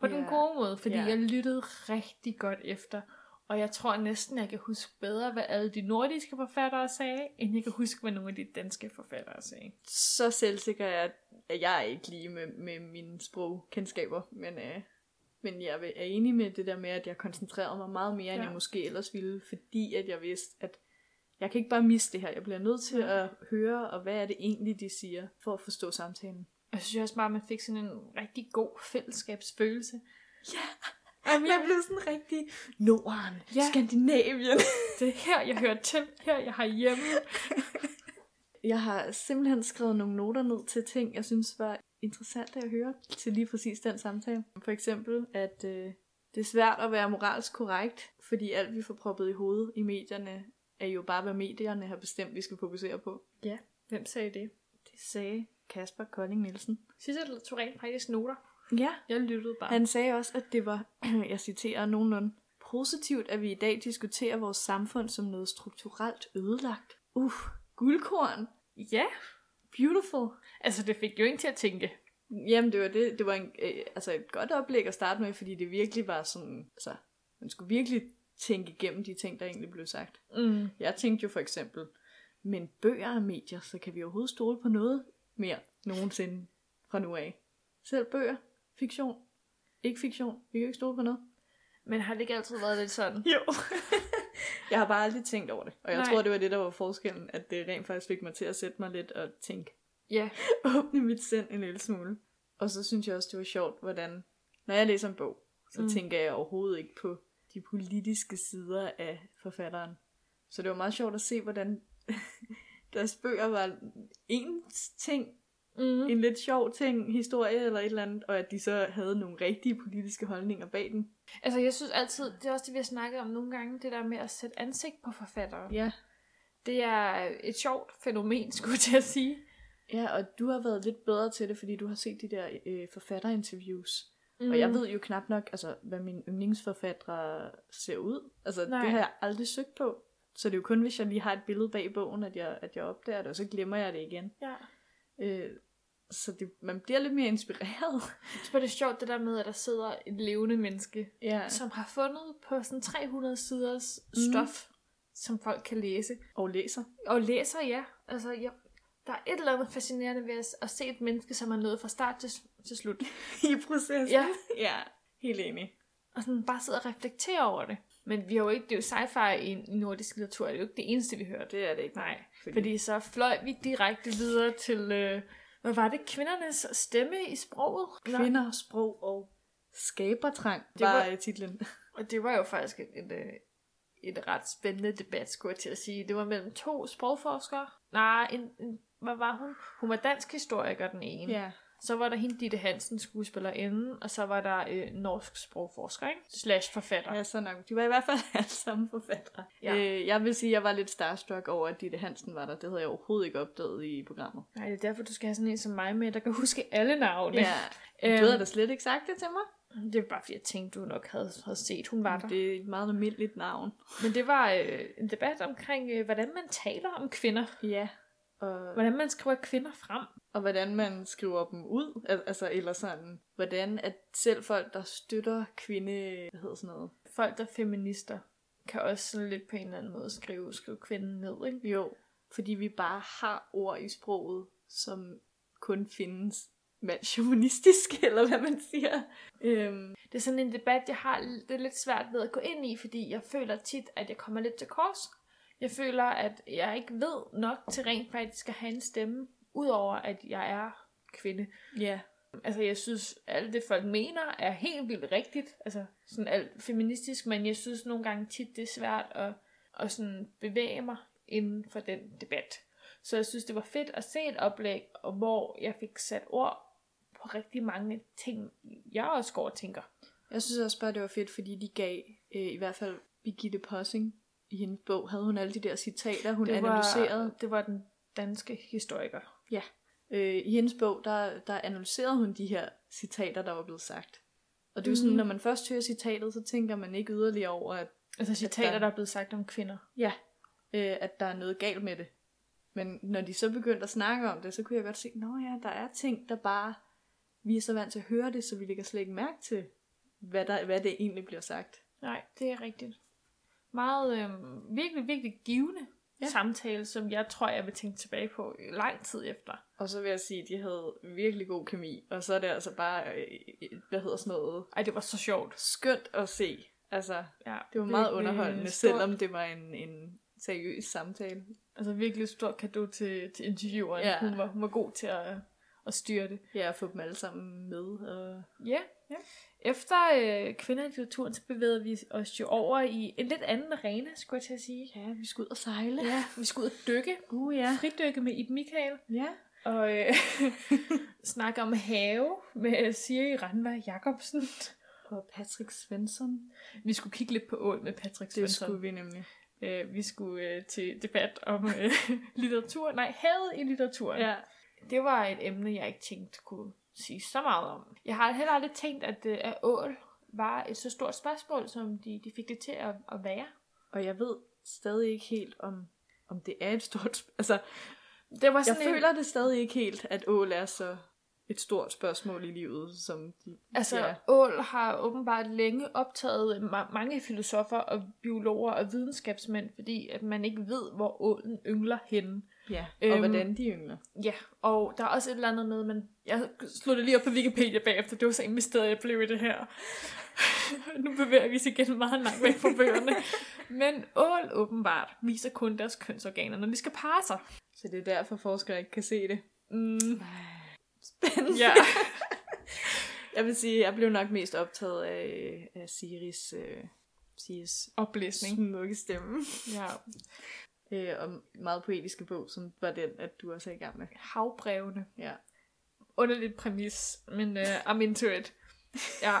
[SPEAKER 3] På yeah. den
[SPEAKER 2] Ja.
[SPEAKER 3] gode måde, fordi
[SPEAKER 2] Ja.
[SPEAKER 3] yeah. jeg lyttede rigtig godt efter. Og jeg tror næsten, jeg kan huske bedre, hvad alle de nordiske forfattere sagde, end jeg kan huske, hvad nogle af de danske forfattere sagde.
[SPEAKER 2] så selvsikker er, jeg, at jeg er ikke lige med, med mine sprogkendskaber, men, øh, men jeg er enig med det der med, at jeg koncentrerede mig meget mere, end
[SPEAKER 3] Ja.
[SPEAKER 2] jeg måske ellers ville, fordi at jeg vidste, at jeg kan ikke bare miste det her. Jeg bliver nødt til at høre, og hvad er det egentlig, de siger, for at forstå samtalen.
[SPEAKER 3] Og jeg synes også bare, at man fik sådan en rigtig god fællesskabsfølelse.
[SPEAKER 2] Ja, jeg blev sådan rigtig Norden, ja.
[SPEAKER 3] Ja.
[SPEAKER 2] Skandinavien.
[SPEAKER 3] Det er her, jeg hører til. Her, jeg har hjemme.
[SPEAKER 2] Jeg har simpelthen skrevet nogle noter ned til ting, jeg synes var interessant at høre til lige præcis den samtale. For eksempel, at øh, det er svært at være moralsk korrekt, fordi alt vi får proppet i hovedet i medierne, er jo bare, hvad medierne har bestemt, vi skal fokusere på.
[SPEAKER 3] Ja, hvem sagde det?
[SPEAKER 2] Det sagde Kasper Kolding Nielsen.
[SPEAKER 3] Sissel tog rent faktisk noter.
[SPEAKER 2] Ja,
[SPEAKER 3] Jeg lyttede bare.
[SPEAKER 2] han sagde også, at det var, jeg citerer nogenlunde, positivt, at vi i dag diskuterer vores samfund som noget strukturelt ødelagt. Uh, guldkorn.
[SPEAKER 3] Ja,
[SPEAKER 2] Beautiful.
[SPEAKER 3] altså det fik jo ikke til at tænke.
[SPEAKER 2] Jamen, det var, det, det var en, øh, altså et godt oplæg at starte med, fordi det virkelig var sådan, altså, Man skulle virkelig tænke igennem de ting, der egentlig blev sagt.
[SPEAKER 3] Mm.
[SPEAKER 2] Jeg tænkte jo for eksempel, men bøger er medier, så kan vi overhovedet stole på noget mere nogensinde fra nu af. Selv bøger, fiktion, ikke fiktion, vi kan jo ikke stole på noget.
[SPEAKER 3] Men har det ikke altid været lidt sådan?
[SPEAKER 2] Jo. jeg har bare aldrig tænkt over det. Og jeg
[SPEAKER 3] Nej.
[SPEAKER 2] Nej. tror, det var det, der var forskellen, at det rent faktisk fik mig til at sætte mig lidt og tænke,
[SPEAKER 3] Ja.
[SPEAKER 2] åbne mit sind en lille smule. Og så synes jeg også, det var sjovt, hvordan, når jeg læser en bog, så
[SPEAKER 3] Mm.
[SPEAKER 2] mm. tænker jeg overhovedet ikke på de politiske sider af forfatteren. Så det var meget sjovt at se, hvordan deres bøger var en ting,
[SPEAKER 3] Mm.
[SPEAKER 2] en lidt sjov ting, historie eller et eller andet, og at de så havde nogle rigtige politiske holdninger bag den.
[SPEAKER 3] Altså, jeg synes altid, det er også det, vi har snakket om nogle gange, det der med at sætte ansigt på forfattere.
[SPEAKER 2] Ja.
[SPEAKER 3] Det er et sjovt fænomen, skulle jeg til at sige.
[SPEAKER 2] Ja, og du har været lidt bedre til det, fordi du har set de der øh, forfatterinterviews. Mm. Og jeg ved jo knap nok, altså, hvad mine yndlingsforfattere ser ud. Altså, Nej.
[SPEAKER 3] Nej.
[SPEAKER 2] det har jeg aldrig søgt på. Så det er jo kun, hvis jeg lige har et billede bag bogen, at jeg, at jeg opdager det, og så glemmer jeg det igen.
[SPEAKER 3] Ja.
[SPEAKER 2] Øh, så det, man bliver lidt mere inspireret.
[SPEAKER 3] Så er det sjovt, det der med, at der sidder et levende menneske,
[SPEAKER 2] ja.
[SPEAKER 3] som har fundet på sådan 300 siders
[SPEAKER 2] Mm.
[SPEAKER 3] stof, som folk kan læse.
[SPEAKER 2] Og læser.
[SPEAKER 3] Og læser, ja. Altså, jeg, der er et eller andet fascinerende ved at, at se et menneske, som er nået fra start til, til slut.
[SPEAKER 2] I processen.
[SPEAKER 3] Ja.
[SPEAKER 2] Ja. ja, helt enig.
[SPEAKER 3] Og sådan bare sidde og reflektere over det. Men vi har jo ikke, det er jo sci-fi i, i nordisk litteratur, det er jo ikke det eneste, vi hørte.
[SPEAKER 2] Det er det ikke.
[SPEAKER 3] Nej,
[SPEAKER 2] fordi... fordi...
[SPEAKER 3] fordi så fløj vi direkte videre til, øh, hvad var det, kvindernes stemme i sproget? Nej,
[SPEAKER 2] Kvinder, sprog og skabertrang
[SPEAKER 3] Det var-
[SPEAKER 2] var, var titlen.
[SPEAKER 3] Og det var jo faktisk en, øh, en ret spændende debat, skulle jeg til at sige. Det var mellem to sprogforskere. Nej, en, en, hvad var hun? Hun var dansk historiker, den ene.
[SPEAKER 2] ja.
[SPEAKER 3] Så var der hende Ditte Hansen, skuespillerinde, og så var der øh, norsk sprogforsker, ikke? Slash forfatter.
[SPEAKER 2] Ja, så nok. De var i hvert fald alle sammen forfattere.
[SPEAKER 3] Ja.
[SPEAKER 2] Ja. Øh, jeg vil sige, at jeg var lidt starstruck over, at Ditte Hansen var der. Det havde jeg overhovedet ikke opdaget i programmet.
[SPEAKER 3] Nej, det er derfor, du skal have sådan en som mig med, der kan huske alle navne.
[SPEAKER 2] Du havde
[SPEAKER 3] øhm,
[SPEAKER 2] da slet ikke sagt det til mig.
[SPEAKER 3] det er bare fordi, jeg tænkte, du nok havde, havde set, hun var der. Det.
[SPEAKER 2] Det er et meget almindeligt navn.
[SPEAKER 3] Men det var øh, en debat omkring, øh, hvordan man taler om kvinder.
[SPEAKER 2] Ja. Og,
[SPEAKER 3] Hvordan man skriver kvinder frem.
[SPEAKER 2] og hvordan man skriver dem ud. Al- Altså, eller sådan, hvordan at selv folk, der støtter kvinde... Hvad hedder sådan noget?
[SPEAKER 3] Folk, der er feminister, kan også sådan lidt på en eller anden måde skrive, skrive kvinden ned, ikke?
[SPEAKER 2] Jo, fordi vi bare har ord i sproget, som kun findes mandsjumanistisk, eller hvad man siger. Øhm,
[SPEAKER 3] Det er sådan en debat, jeg har l- det er lidt svært ved at gå ind i, fordi jeg føler tit, at jeg kommer lidt til kors. Jeg føler, at jeg ikke ved nok til rent faktisk at have en stemme, udover at jeg er kvinde.
[SPEAKER 2] ja.
[SPEAKER 3] Altså, jeg synes, alt det folk mener er helt vildt rigtigt. Altså, sådan alt feministisk, men jeg synes nogle gange tit, det er svært at, at sådan bevæge mig inden for den debat. Så jeg synes, det var fedt at se et oplæg, og hvor jeg fik sat ord på rigtig mange ting, jeg også går og tænker.
[SPEAKER 2] Jeg synes også bare, det var fedt, fordi de gav, øh, i hvert fald Birgitte Possing, i hendes bog, havde hun alle de der citater, hun det analyserede.
[SPEAKER 3] Var, det var den danske historiker.
[SPEAKER 2] Ja. Øh, I hendes bog, der, der analyserede hun de her citater, der var blevet sagt. Og det er jo sådan,
[SPEAKER 3] Mhm.
[SPEAKER 2] når man først hører citatet, så tænker man ikke yderligere over, at,
[SPEAKER 3] Altså citater,
[SPEAKER 2] der-
[SPEAKER 3] der er blevet sagt om kvinder.
[SPEAKER 2] ja, øh, at der er noget galt med det. Men når de så begyndte at snakke om det, så kunne jeg godt se, nå ja, der er ting, der bare, vi er så vant til at høre det, så vi lægger slet ikke mærke til, hvad, der, hvad det egentlig bliver sagt.
[SPEAKER 3] Nej, det er rigtigt. Meget, øh, virkelig, virkelig givende ja.
[SPEAKER 2] Ja.
[SPEAKER 3] samtale, som jeg tror, jeg vil tænke tilbage på i lang tid efter.
[SPEAKER 2] Og så vil jeg sige, at de havde virkelig god kemi. Og så er det altså bare, øh, øh, hvad hedder sådan noget,
[SPEAKER 3] Ej, det var så sjovt.
[SPEAKER 2] skønt at se. Altså,
[SPEAKER 3] Ja,
[SPEAKER 2] det var meget
[SPEAKER 3] virkelig
[SPEAKER 2] underholdende,
[SPEAKER 3] stor-
[SPEAKER 2] selvom det var en, en seriøs samtale.
[SPEAKER 3] Altså virkelig stor kado til, til intervieweren. Ja.
[SPEAKER 2] Ja.
[SPEAKER 3] Hun, var, hun var god til at, at styre det.
[SPEAKER 2] Ja, at få dem alle sammen med. Og...
[SPEAKER 3] Ja.
[SPEAKER 2] Ja.
[SPEAKER 3] Efter øh, kvinderinterviewturen, så bevægede vi os jo over i en lidt anden arena, skulle jeg til at sige.
[SPEAKER 2] Ja, vi skulle ud og sejle.
[SPEAKER 3] Ja, vi skulle ud og dykke.
[SPEAKER 2] Uh, ja.
[SPEAKER 3] Fridykke med Ib Michael.
[SPEAKER 2] ja.
[SPEAKER 3] og øh, snakke om have med Siri Randvær Jacobsen.
[SPEAKER 2] Og Patrick Svensson.
[SPEAKER 3] Vi skulle kigge lidt på ål med Patrick
[SPEAKER 2] Det
[SPEAKER 3] Svensson.
[SPEAKER 2] skulle vi nemlig.
[SPEAKER 3] Øh, vi skulle øh, til debat om øh, litteratur. Nej, havet i litteraturen. Det var et emne, jeg ikke tænkte kunne sige så meget om. Jeg har heller aldrig tænkt, at, øh, at ål var et så stort spørgsmål, som de, de fik det til at, at være.
[SPEAKER 2] Og jeg ved stadig ikke helt, om, om det er et stort... sp- Altså,
[SPEAKER 3] Det var
[SPEAKER 2] jeg
[SPEAKER 3] sådan en-
[SPEAKER 2] føler det stadig ikke helt, at ål er så et stort spørgsmål i livet, som de...
[SPEAKER 3] Altså,
[SPEAKER 2] ja.
[SPEAKER 3] ja. Ål har åbenbart længe optaget ma- mange filosofer og biologer og videnskabsmænd, fordi at man ikke ved, hvor ålen yngler henne.
[SPEAKER 2] ja. Og
[SPEAKER 3] Øhm,
[SPEAKER 2] hvordan de yngler.
[SPEAKER 3] Ja, og der er også et eller andet med, men jeg slog det lige op på Wikipedia bagefter, det var så investeret, jeg blev i det her. nu bevæger vi os igen meget langt væk fra bøgerne. men ål åbenbart viser kun deres kønsorganer, når de skal parre sig.
[SPEAKER 2] Så det er derfor forskere ikke kan se det.
[SPEAKER 3] Mm,
[SPEAKER 2] Spændende.
[SPEAKER 3] ja.
[SPEAKER 2] Jeg vil sige, jeg blev nok mest optaget af, af Siris, øh, Siris
[SPEAKER 3] Oplæsning.
[SPEAKER 2] smukke stemme.
[SPEAKER 3] Ja.
[SPEAKER 2] Øh, og meget poetiske bog, som var den, at du også er i gang med.
[SPEAKER 3] Havbrevene.
[SPEAKER 2] Ja.
[SPEAKER 3] Underlig præmis, men uh, I'm into it. Ja,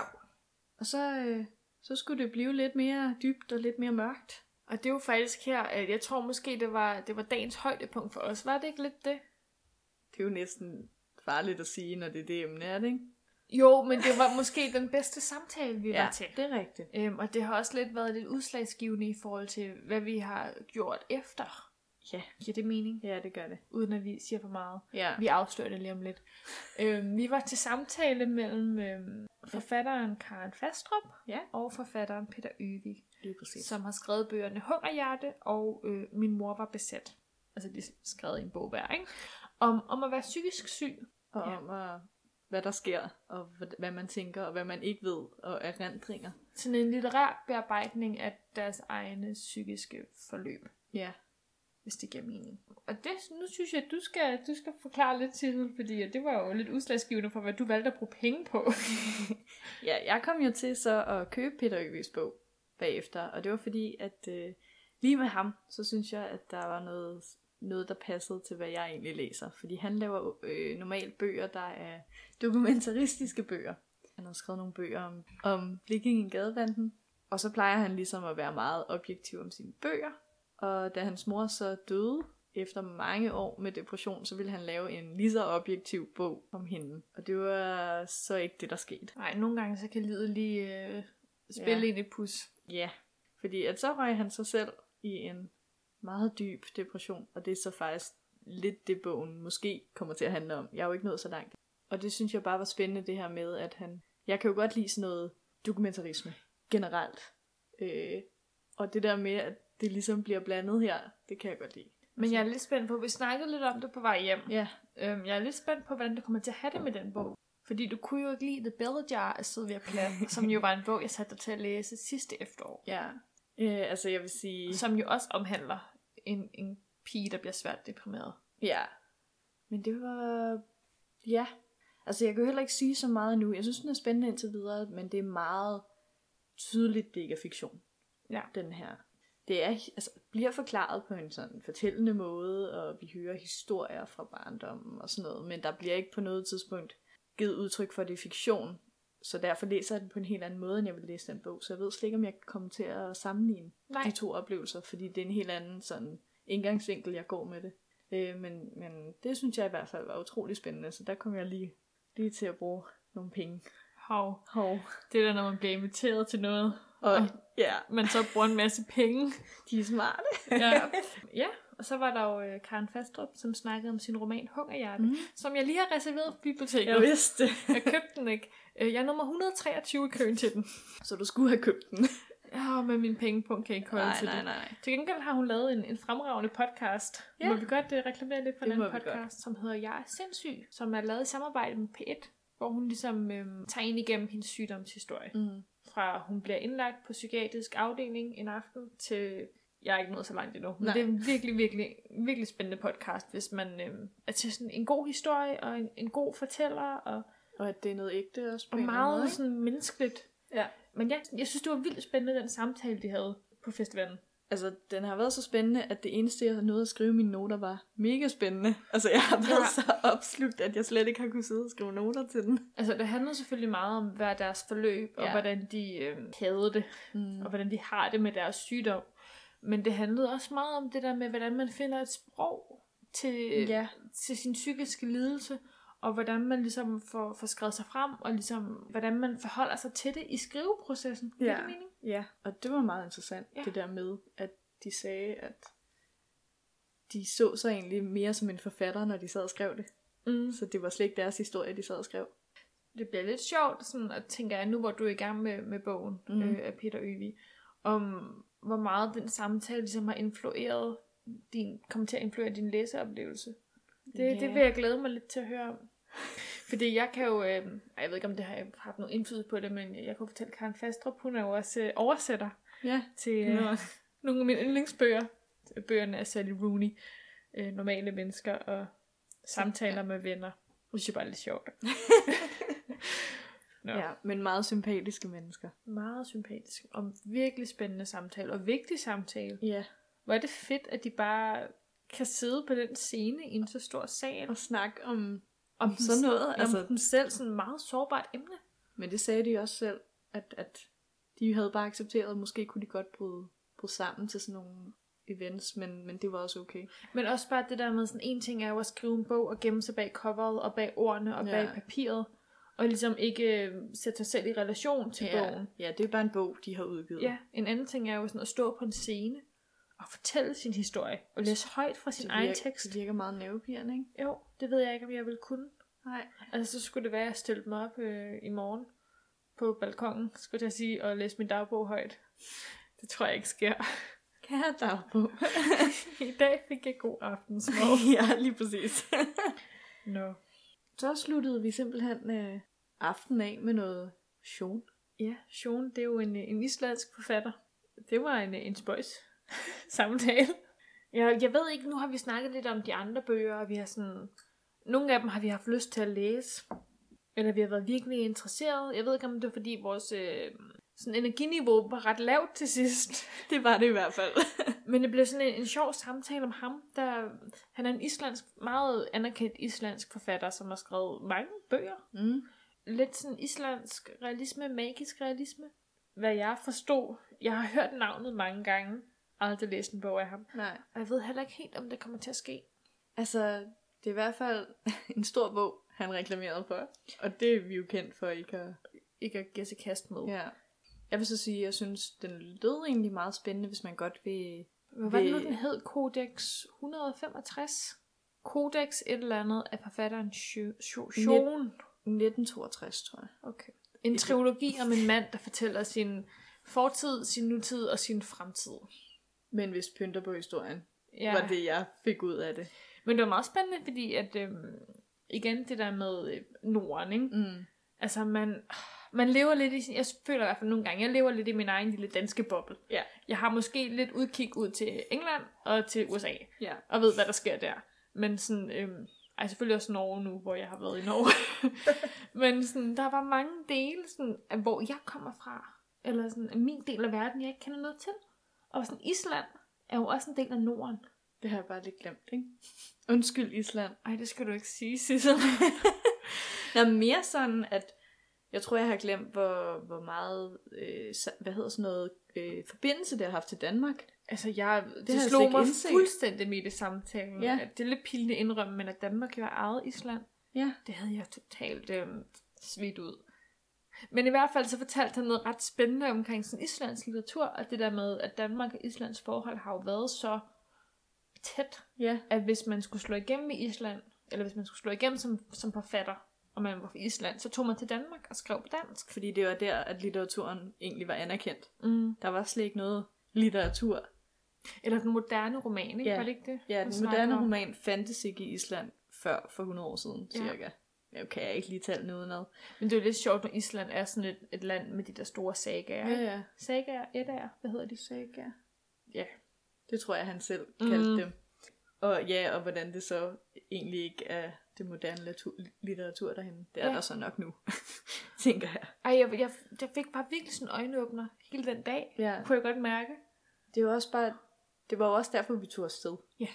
[SPEAKER 2] Og så, øh, så skulle det blive lidt mere dybt og lidt mere mørkt.
[SPEAKER 3] og det er jo faktisk her, øh, jeg tror måske, det var, det var dagens højdepunkt for os. Var det ikke lidt det?
[SPEAKER 2] Det er jo næsten farligt at sige, når det er det emne, er det ikke?
[SPEAKER 3] Jo, men det var måske den bedste samtale, vi ja. var til.
[SPEAKER 2] det er rigtigt.
[SPEAKER 3] Øhm, og det har også lidt været lidt udslagsgivende i forhold til, hvad vi har gjort efter.
[SPEAKER 2] Ja.
[SPEAKER 3] Giver det mening?
[SPEAKER 2] Ja, det gør det.
[SPEAKER 3] Uden at vi siger for meget.
[SPEAKER 2] Ja.
[SPEAKER 3] Vi afslører det lige om lidt. øhm, vi var til samtale mellem øhm, forfatteren Karen Fastrup
[SPEAKER 2] Ja.
[SPEAKER 3] og forfatteren Peter Øvig,
[SPEAKER 2] Lige præcis.
[SPEAKER 3] som har skrevet bøgerne Hungerhjerte og øh, Min mor var besat. Altså de skrev i en bog hver, ikke? Om, om at være psykisk syg.
[SPEAKER 2] og
[SPEAKER 3] Ja.
[SPEAKER 2] om, at, hvad der sker, og hvad- hvad man tænker, og hvad man ikke ved, og erindringer.
[SPEAKER 3] Sådan en litterær bearbejdning af deres egne psykiske forløb.
[SPEAKER 2] Ja.
[SPEAKER 3] hvis det giver mening. Og det, nu synes jeg, at du skal, du skal forklare lidt til, fordi at det var jo lidt udslagsgivende for, hvad du valgte at bruge penge på.
[SPEAKER 2] ja, jeg kom jo til så at købe Peter Øvigs bog bagefter, og det var fordi, at øh, lige med ham, så synes jeg, at der var noget, noget, der passede til, hvad jeg egentlig læser. Fordi han laver øh, normalt bøger, der er dokumentaristiske bøger. Han har skrevet nogle bøger om, om Blikkingen gadebanden, og så plejer han ligesom at være meget objektiv om sine bøger. Og da hans mor så døde, efter mange år med depression, så ville han lave en lige så objektiv bog om hende. Og det var så ikke det, der skete.
[SPEAKER 3] Nej, nogle gange så kan livet lige øh, spille
[SPEAKER 2] Ja.
[SPEAKER 3] ja. ind i pus.
[SPEAKER 2] Ja, fordi at så røg han sig selv i en meget dyb depression, og det er så faktisk lidt det, bogen måske kommer til at handle om. Jeg er jo ikke nået så langt. Og det synes jeg bare var spændende, det her med, at han... Jeg kan jo godt lide sådan noget dokumentarisme generelt. Øh, og det der med, at det ligesom bliver blandet her, det kan jeg godt lide.
[SPEAKER 3] Men jeg er lidt spændt på, vi snakkede lidt om det på vej hjem.
[SPEAKER 2] Ja,
[SPEAKER 3] Øhm, jeg er lidt spændt på, hvordan du kommer til at have det med den bog. Fordi du kunne jo ikke lide The Bell Jar af Sylvia Plath, som jo var en bog, jeg satte dig til at læse sidste efterår.
[SPEAKER 2] ja. Øh, altså jeg vil sige...
[SPEAKER 3] Som jo også omhandler en, en pige, der bliver svært deprimeret.
[SPEAKER 2] Ja. Men det var... Ja. Altså, jeg kan jo heller ikke sige så meget nu. Jeg synes, den er spændende indtil videre, men det er meget tydeligt, det ikke er fiktion.
[SPEAKER 3] Ja.
[SPEAKER 2] Den her. Det er, altså, bliver forklaret på en sådan fortællende måde, og vi hører historier fra barndommen og sådan noget, men der bliver ikke på noget tidspunkt givet udtryk for, at det er fiktion. Så derfor læser jeg den på en helt anden måde, end jeg vil læse den bog. Så jeg ved slet ikke, om jeg kan komme til at sammenligne
[SPEAKER 3] Nej.
[SPEAKER 2] de to oplevelser, fordi det er en helt anden sådan indgangsvinkel, jeg går med det. Øh, men, men det synes jeg i hvert fald var utrolig spændende, så der kom jeg lige, lige til at bruge nogle penge.
[SPEAKER 3] Hov.
[SPEAKER 2] Hov.
[SPEAKER 3] Det er da, når man bliver inviteret til noget,
[SPEAKER 2] Og
[SPEAKER 3] Ah.
[SPEAKER 2] ja,
[SPEAKER 3] man så bruger en masse penge.
[SPEAKER 2] de er smarte.
[SPEAKER 3] ja. ja, og så var der jo øh, Karen Fastrup, som snakkede om sin roman Hungerhjerte, mm. som jeg lige har reserveret på biblioteket.
[SPEAKER 2] Jeg vidste det.
[SPEAKER 3] jeg købte den ikke. Øh, Jeg er nummer 123 i køen til den.
[SPEAKER 2] Så du skulle have købt den.
[SPEAKER 3] Åh, men min pengepunkt kan ikke holde
[SPEAKER 2] Nej,
[SPEAKER 3] til
[SPEAKER 2] nej,
[SPEAKER 3] det.
[SPEAKER 2] nej.
[SPEAKER 3] Til gengæld har hun lavet en, en fremragende podcast.
[SPEAKER 2] Ja.
[SPEAKER 3] Ja. Må vi godt uh, reklamere lidt for
[SPEAKER 2] Det
[SPEAKER 3] den
[SPEAKER 2] må vi
[SPEAKER 3] podcast, som hedder Jeg er sindssyg, som er lavet i samarbejde med P1, hvor hun ligesom øhm, tager ind igennem hendes sygdomshistorie.
[SPEAKER 2] Mm.
[SPEAKER 3] fra hun bliver indlagt på psykiatrisk afdeling en aften til jeg er ikke nået så langt endnu. Men
[SPEAKER 2] Nej.
[SPEAKER 3] det er en virkelig, virkelig, virkelig spændende podcast, hvis man øh, er til sådan en god historie og en, en god fortæller og,
[SPEAKER 2] Og at det er noget ægte også på
[SPEAKER 3] og
[SPEAKER 2] en eller anden måde,
[SPEAKER 3] meget
[SPEAKER 2] ikke?
[SPEAKER 3] sådan menneskeligt.
[SPEAKER 2] Ja.
[SPEAKER 3] Men jeg, jeg synes, det var vildt spændende, den samtale, de havde på festivalen.
[SPEAKER 2] Altså, den har været så spændende, at det eneste, jeg nåede at skrive i mine noter, var mega spændende. Altså, jeg har været
[SPEAKER 3] Ja.
[SPEAKER 2] så opslugt, at jeg slet ikke har kunnet sidde og skrive noter til den.
[SPEAKER 3] Altså, det handlede selvfølgelig meget om, hvad er deres forløb, ja.
[SPEAKER 2] Ja.
[SPEAKER 3] og hvordan de øh, havde det,
[SPEAKER 2] Mm.
[SPEAKER 3] og hvordan de har det med deres sygdom. Men det handlede også meget om det der med, hvordan man finder et sprog til,
[SPEAKER 2] Ja.
[SPEAKER 3] til sin psykiske lidelse, og hvordan man ligesom får, får skrevet sig frem, og ligesom, hvordan man forholder sig til det i skriveprocessen. Giver
[SPEAKER 2] Ja.
[SPEAKER 3] det mening?
[SPEAKER 2] Ja, og det var meget interessant, ja.
[SPEAKER 3] Ja.
[SPEAKER 2] det der med, at de sagde, at de så sig egentlig mere som en forfatter, når de sad og skrev det.
[SPEAKER 3] Mm.
[SPEAKER 2] Så det var slet ikke deres historie, de sad og skrev.
[SPEAKER 3] det bliver lidt sjovt, sådan at tænker jeg, nu hvor du er i gang med, med bogen
[SPEAKER 2] Mhm.
[SPEAKER 3] mm. øh, af Peter Øvig, om hvor meget den samtale ligesom har influeret din, kommet til at influere din læseoplevelse. Det, yeah.
[SPEAKER 2] Ja.
[SPEAKER 3] det vil jeg glæde mig lidt til at høre om. Fordi jeg kan jo, øh, ej, jeg ved ikke om det har haft noget indflydelse på det, men jeg kunne fortælle, Karen Fastrup, hun er jo også øh, oversætter
[SPEAKER 2] Ja.
[SPEAKER 3] til øh,
[SPEAKER 2] Nå.
[SPEAKER 3] nogle af mine yndlingsbøger. Bøgerne af Sally Rooney, øh, Normale mennesker og samtaler med venner. Det synes jeg bare er lidt sjovt. Nå.
[SPEAKER 2] Ja. ja, men meget sympatiske mennesker.
[SPEAKER 3] Meget sympatisk og virkelig spændende samtale og vigtig samtale.
[SPEAKER 2] Ja.
[SPEAKER 3] Hvor er det fedt, at de bare kan sidde på den scene i en så stor sal.
[SPEAKER 2] Og snakke om
[SPEAKER 3] Om
[SPEAKER 2] sådan noget.
[SPEAKER 3] Altså,
[SPEAKER 2] Altså,
[SPEAKER 3] om dem selv, sådan et meget sårbart emne.
[SPEAKER 2] Men det sagde de også selv, at, at de havde bare accepteret, at måske kunne de godt bryde, bryde sammen til sådan nogle events, men, men det var også okay.
[SPEAKER 3] Men også bare det der med sådan, en ting er jo at skrive en bog og gemme sig bag coveret og bag ordene og
[SPEAKER 2] Ja.
[SPEAKER 3] bag papiret. Og ligesom ikke øh, sætte sig selv i relation til
[SPEAKER 2] ja,
[SPEAKER 3] bogen.
[SPEAKER 2] ja, det er bare en bog, de har udgivet.
[SPEAKER 3] Ja, en anden ting er jo sådan at stå på en scene og fortælle sin historie. Og læse højt fra sin
[SPEAKER 2] det
[SPEAKER 3] egen
[SPEAKER 2] virker,
[SPEAKER 3] tekst.
[SPEAKER 2] Det virker meget nervepirrende, ikke?
[SPEAKER 3] Jo, det ved jeg ikke, om jeg vil kunne.
[SPEAKER 2] Nej.
[SPEAKER 3] Altså, så skulle det være, at jeg stillede mig op øh, i morgen på balkongen, skulle jeg sige, og læste min dagbog højt. Det tror jeg ikke sker.
[SPEAKER 2] Kan jeg have på?
[SPEAKER 3] I dag fik jeg god aftensmad.
[SPEAKER 2] ja, lige præcis.
[SPEAKER 3] Nå. No.
[SPEAKER 2] Så sluttede vi simpelthen øh, aftenen af med noget sjov.
[SPEAKER 3] Ja, Sjone, det er jo en, øh, en islandsk forfatter. Det var en, øh, en spøjs samtale. Jeg, jeg ved ikke, nu har vi snakket lidt om de andre bøger, og vi har sådan... Nogle af dem har vi haft lyst til at læse, eller vi har været virkelig interesseret. Jeg ved ikke, om det var fordi vores øh, sådan energiniveau var ret lavt til sidst.
[SPEAKER 2] Det var det i hvert fald.
[SPEAKER 3] Men det blev sådan en, en sjov samtale om ham, der, han er en islandsk, meget anerkendt islandsk forfatter, som har skrevet mange bøger.
[SPEAKER 2] Mm.
[SPEAKER 3] Lidt sådan islandsk realisme, magisk realisme. Hvad jeg forstod, jeg har hørt navnet mange gange, aldrig læst en bog af ham.
[SPEAKER 2] Nej.
[SPEAKER 3] Og jeg ved heller ikke helt, om det kommer til at ske.
[SPEAKER 2] Altså, det er i hvert fald en stor bog, han reklamerede for. Og det er vi jo kendt for ikke at
[SPEAKER 3] Ikke at give sig kast med.
[SPEAKER 2] Ja. Jeg vil så sige, at jeg synes, den lød egentlig meget spændende, hvis man godt vil...
[SPEAKER 3] Hvad var det nu,
[SPEAKER 2] Ved-
[SPEAKER 3] den hed? Codex 165? Codex et eller andet af forfatteren Sjone.
[SPEAKER 2] 1962, tror jeg.
[SPEAKER 3] Okay. En trilogi om en mand, der fortæller sin fortid, sin nutid og sin fremtid.
[SPEAKER 2] Men hvis pynter på historien,
[SPEAKER 3] Ja.
[SPEAKER 2] var det, jeg fik ud af det.
[SPEAKER 3] Men det var meget spændende, fordi at, øhm, igen det der med øh, Norden, ikke?
[SPEAKER 2] Mm.
[SPEAKER 3] Altså man, man lever lidt i, sin- jeg føler i hvert fald nogle gange, jeg lever lidt i min egen lille danske boble.
[SPEAKER 2] Ja.
[SPEAKER 3] Jeg har måske lidt udkig ud til England og til USA,
[SPEAKER 2] Ja.
[SPEAKER 3] og ved, hvad der sker der. Men sådan, øhm, ej selvfølgelig også Norge nu, hvor jeg har været i Norge. Men sådan, der var mange dele, sådan, af hvor jeg kommer fra, eller sådan, af min del af verden, jeg ikke kender noget til. Og sådan, Island er jo også en del af Norden.
[SPEAKER 2] Det har jeg bare lidt glemt, ikke? Undskyld, Island.
[SPEAKER 3] Ej, det skal du ikke sige, Sissel.
[SPEAKER 2] Nå, mere sådan, at jeg tror, jeg har glemt, hvor, hvor meget, øh, sa- hvad hedder sådan noget, øh, forbindelse det har haft til Danmark.
[SPEAKER 3] altså, jeg, det,
[SPEAKER 2] jeg
[SPEAKER 3] det
[SPEAKER 2] slet
[SPEAKER 3] slog
[SPEAKER 2] ikke
[SPEAKER 3] mig
[SPEAKER 2] indset.
[SPEAKER 3] fuldstændig midt i samtalen.
[SPEAKER 2] Ja.
[SPEAKER 3] At det er lidt pinligt at indrømme, men at Danmark jo er ejet Island.
[SPEAKER 2] Ja.
[SPEAKER 3] Det havde jeg totalt øh, svidt ud. Men i hvert fald så fortalte han noget ret spændende omkring sådan islandsk litteratur, og det der med, at Danmark og Islands forhold har jo været så tæt,
[SPEAKER 2] Ja.
[SPEAKER 3] at hvis man skulle slå igennem i Island, eller hvis man skulle slå igennem som, som forfatter, og man var fra Island, så tog man til Danmark og skrev på dansk.
[SPEAKER 2] Fordi det var der, at litteraturen egentlig var anerkendt.
[SPEAKER 3] Mm.
[SPEAKER 2] Der var slet ikke noget litteratur.
[SPEAKER 3] Eller den moderne roman, ikke?
[SPEAKER 2] Ja.
[SPEAKER 3] Var det ikke det?
[SPEAKER 2] Ja,
[SPEAKER 3] han
[SPEAKER 2] den
[SPEAKER 3] snakkede
[SPEAKER 2] moderne
[SPEAKER 3] om?
[SPEAKER 2] roman fandtes ikke i Island før for 100 år siden,
[SPEAKER 3] Ja.
[SPEAKER 2] ja. cirka. Nu kan jeg ikke lige tale den udenad.
[SPEAKER 3] Men det er jo lidt sjovt, når Island er sådan et, et land med de der store sagaer. Ja.
[SPEAKER 2] ja.
[SPEAKER 3] Sagaer, etter, hvad hedder de? Sagaer. Ja.
[SPEAKER 2] Det tror jeg, han selv kaldte
[SPEAKER 3] Mm.
[SPEAKER 2] dem. Og ja, og hvordan det så egentlig ikke er det moderne latu- litteratur derhen. Det er
[SPEAKER 3] Ja.
[SPEAKER 2] ja. der så nok nu, tænker jeg.
[SPEAKER 3] Ej, jeg, jeg, jeg fik bare virkelig sådan en øjenåbner hele den dag.
[SPEAKER 2] Ja.
[SPEAKER 3] Kunne jeg godt mærke.
[SPEAKER 2] Det var, også bare, det var jo også derfor, vi tog afsted.
[SPEAKER 3] Ja.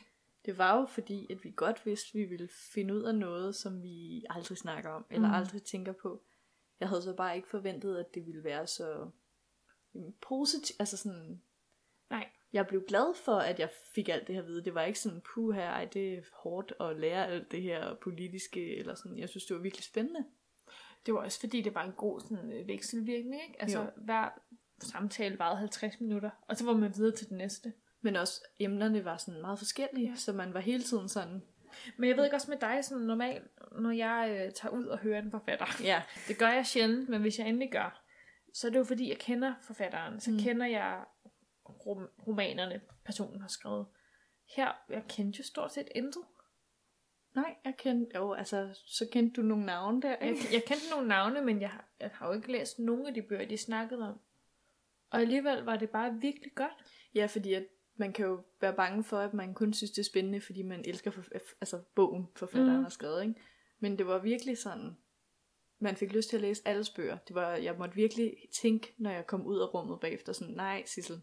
[SPEAKER 2] Det var jo fordi, at vi godt vidste, at vi ville finde ud af noget, som vi aldrig snakker om, eller
[SPEAKER 3] Mm.
[SPEAKER 2] aldrig tænker på. Jeg havde så bare ikke forventet, at det ville være så positivt. Altså sådan,
[SPEAKER 3] Nej.
[SPEAKER 2] jeg blev glad for, at jeg fik alt det her at vide. Det var ikke sådan, puh her, ej, det er hårdt at lære alt det her politiske, eller sådan. Jeg synes, det var virkelig spændende.
[SPEAKER 3] Det var også fordi, det var en god sådan, øh, vekselvirkning, ikke? Altså,
[SPEAKER 2] Jo.
[SPEAKER 3] hver samtale varede 50 minutter, og så var man videre til den næste.
[SPEAKER 2] Men også emnerne var sådan meget forskellige,
[SPEAKER 3] Ja.
[SPEAKER 2] ja. så man var hele tiden sådan,
[SPEAKER 3] Men jeg ved ikke også med dig, sådan normalt, når jeg øh, tager ud og hører en forfatter.
[SPEAKER 2] Ja.
[SPEAKER 3] Det gør jeg sjældent, men hvis jeg endelig gør, så er det jo fordi, jeg kender forfatteren. Så
[SPEAKER 2] Mm.
[SPEAKER 3] mm. kender jeg rom- romanerne, personen har skrevet. Her, jeg kendte jo stort set intet.
[SPEAKER 2] Nej, jeg kendte... Jo, altså, så kendte du nogle navne der,
[SPEAKER 3] Jeg,
[SPEAKER 2] ikke?
[SPEAKER 3] jeg kendte nogle navne, men jeg, har- jeg har jo ikke læst nogen af de bøger, de snakkede om. Og alligevel var det bare virkelig godt.
[SPEAKER 2] Ja, fordi at man kan jo være bange for, at man kun synes, det er spændende, fordi man elsker for, altså, bogen, forfatteren
[SPEAKER 3] Mhm.
[SPEAKER 2] har skrevet. Ikke? Men det var virkelig sådan, man fik lyst til at læse alle bøger. Det var, jeg måtte virkelig tænke, når jeg kom ud af rummet bagefter, sådan, nej Sissel,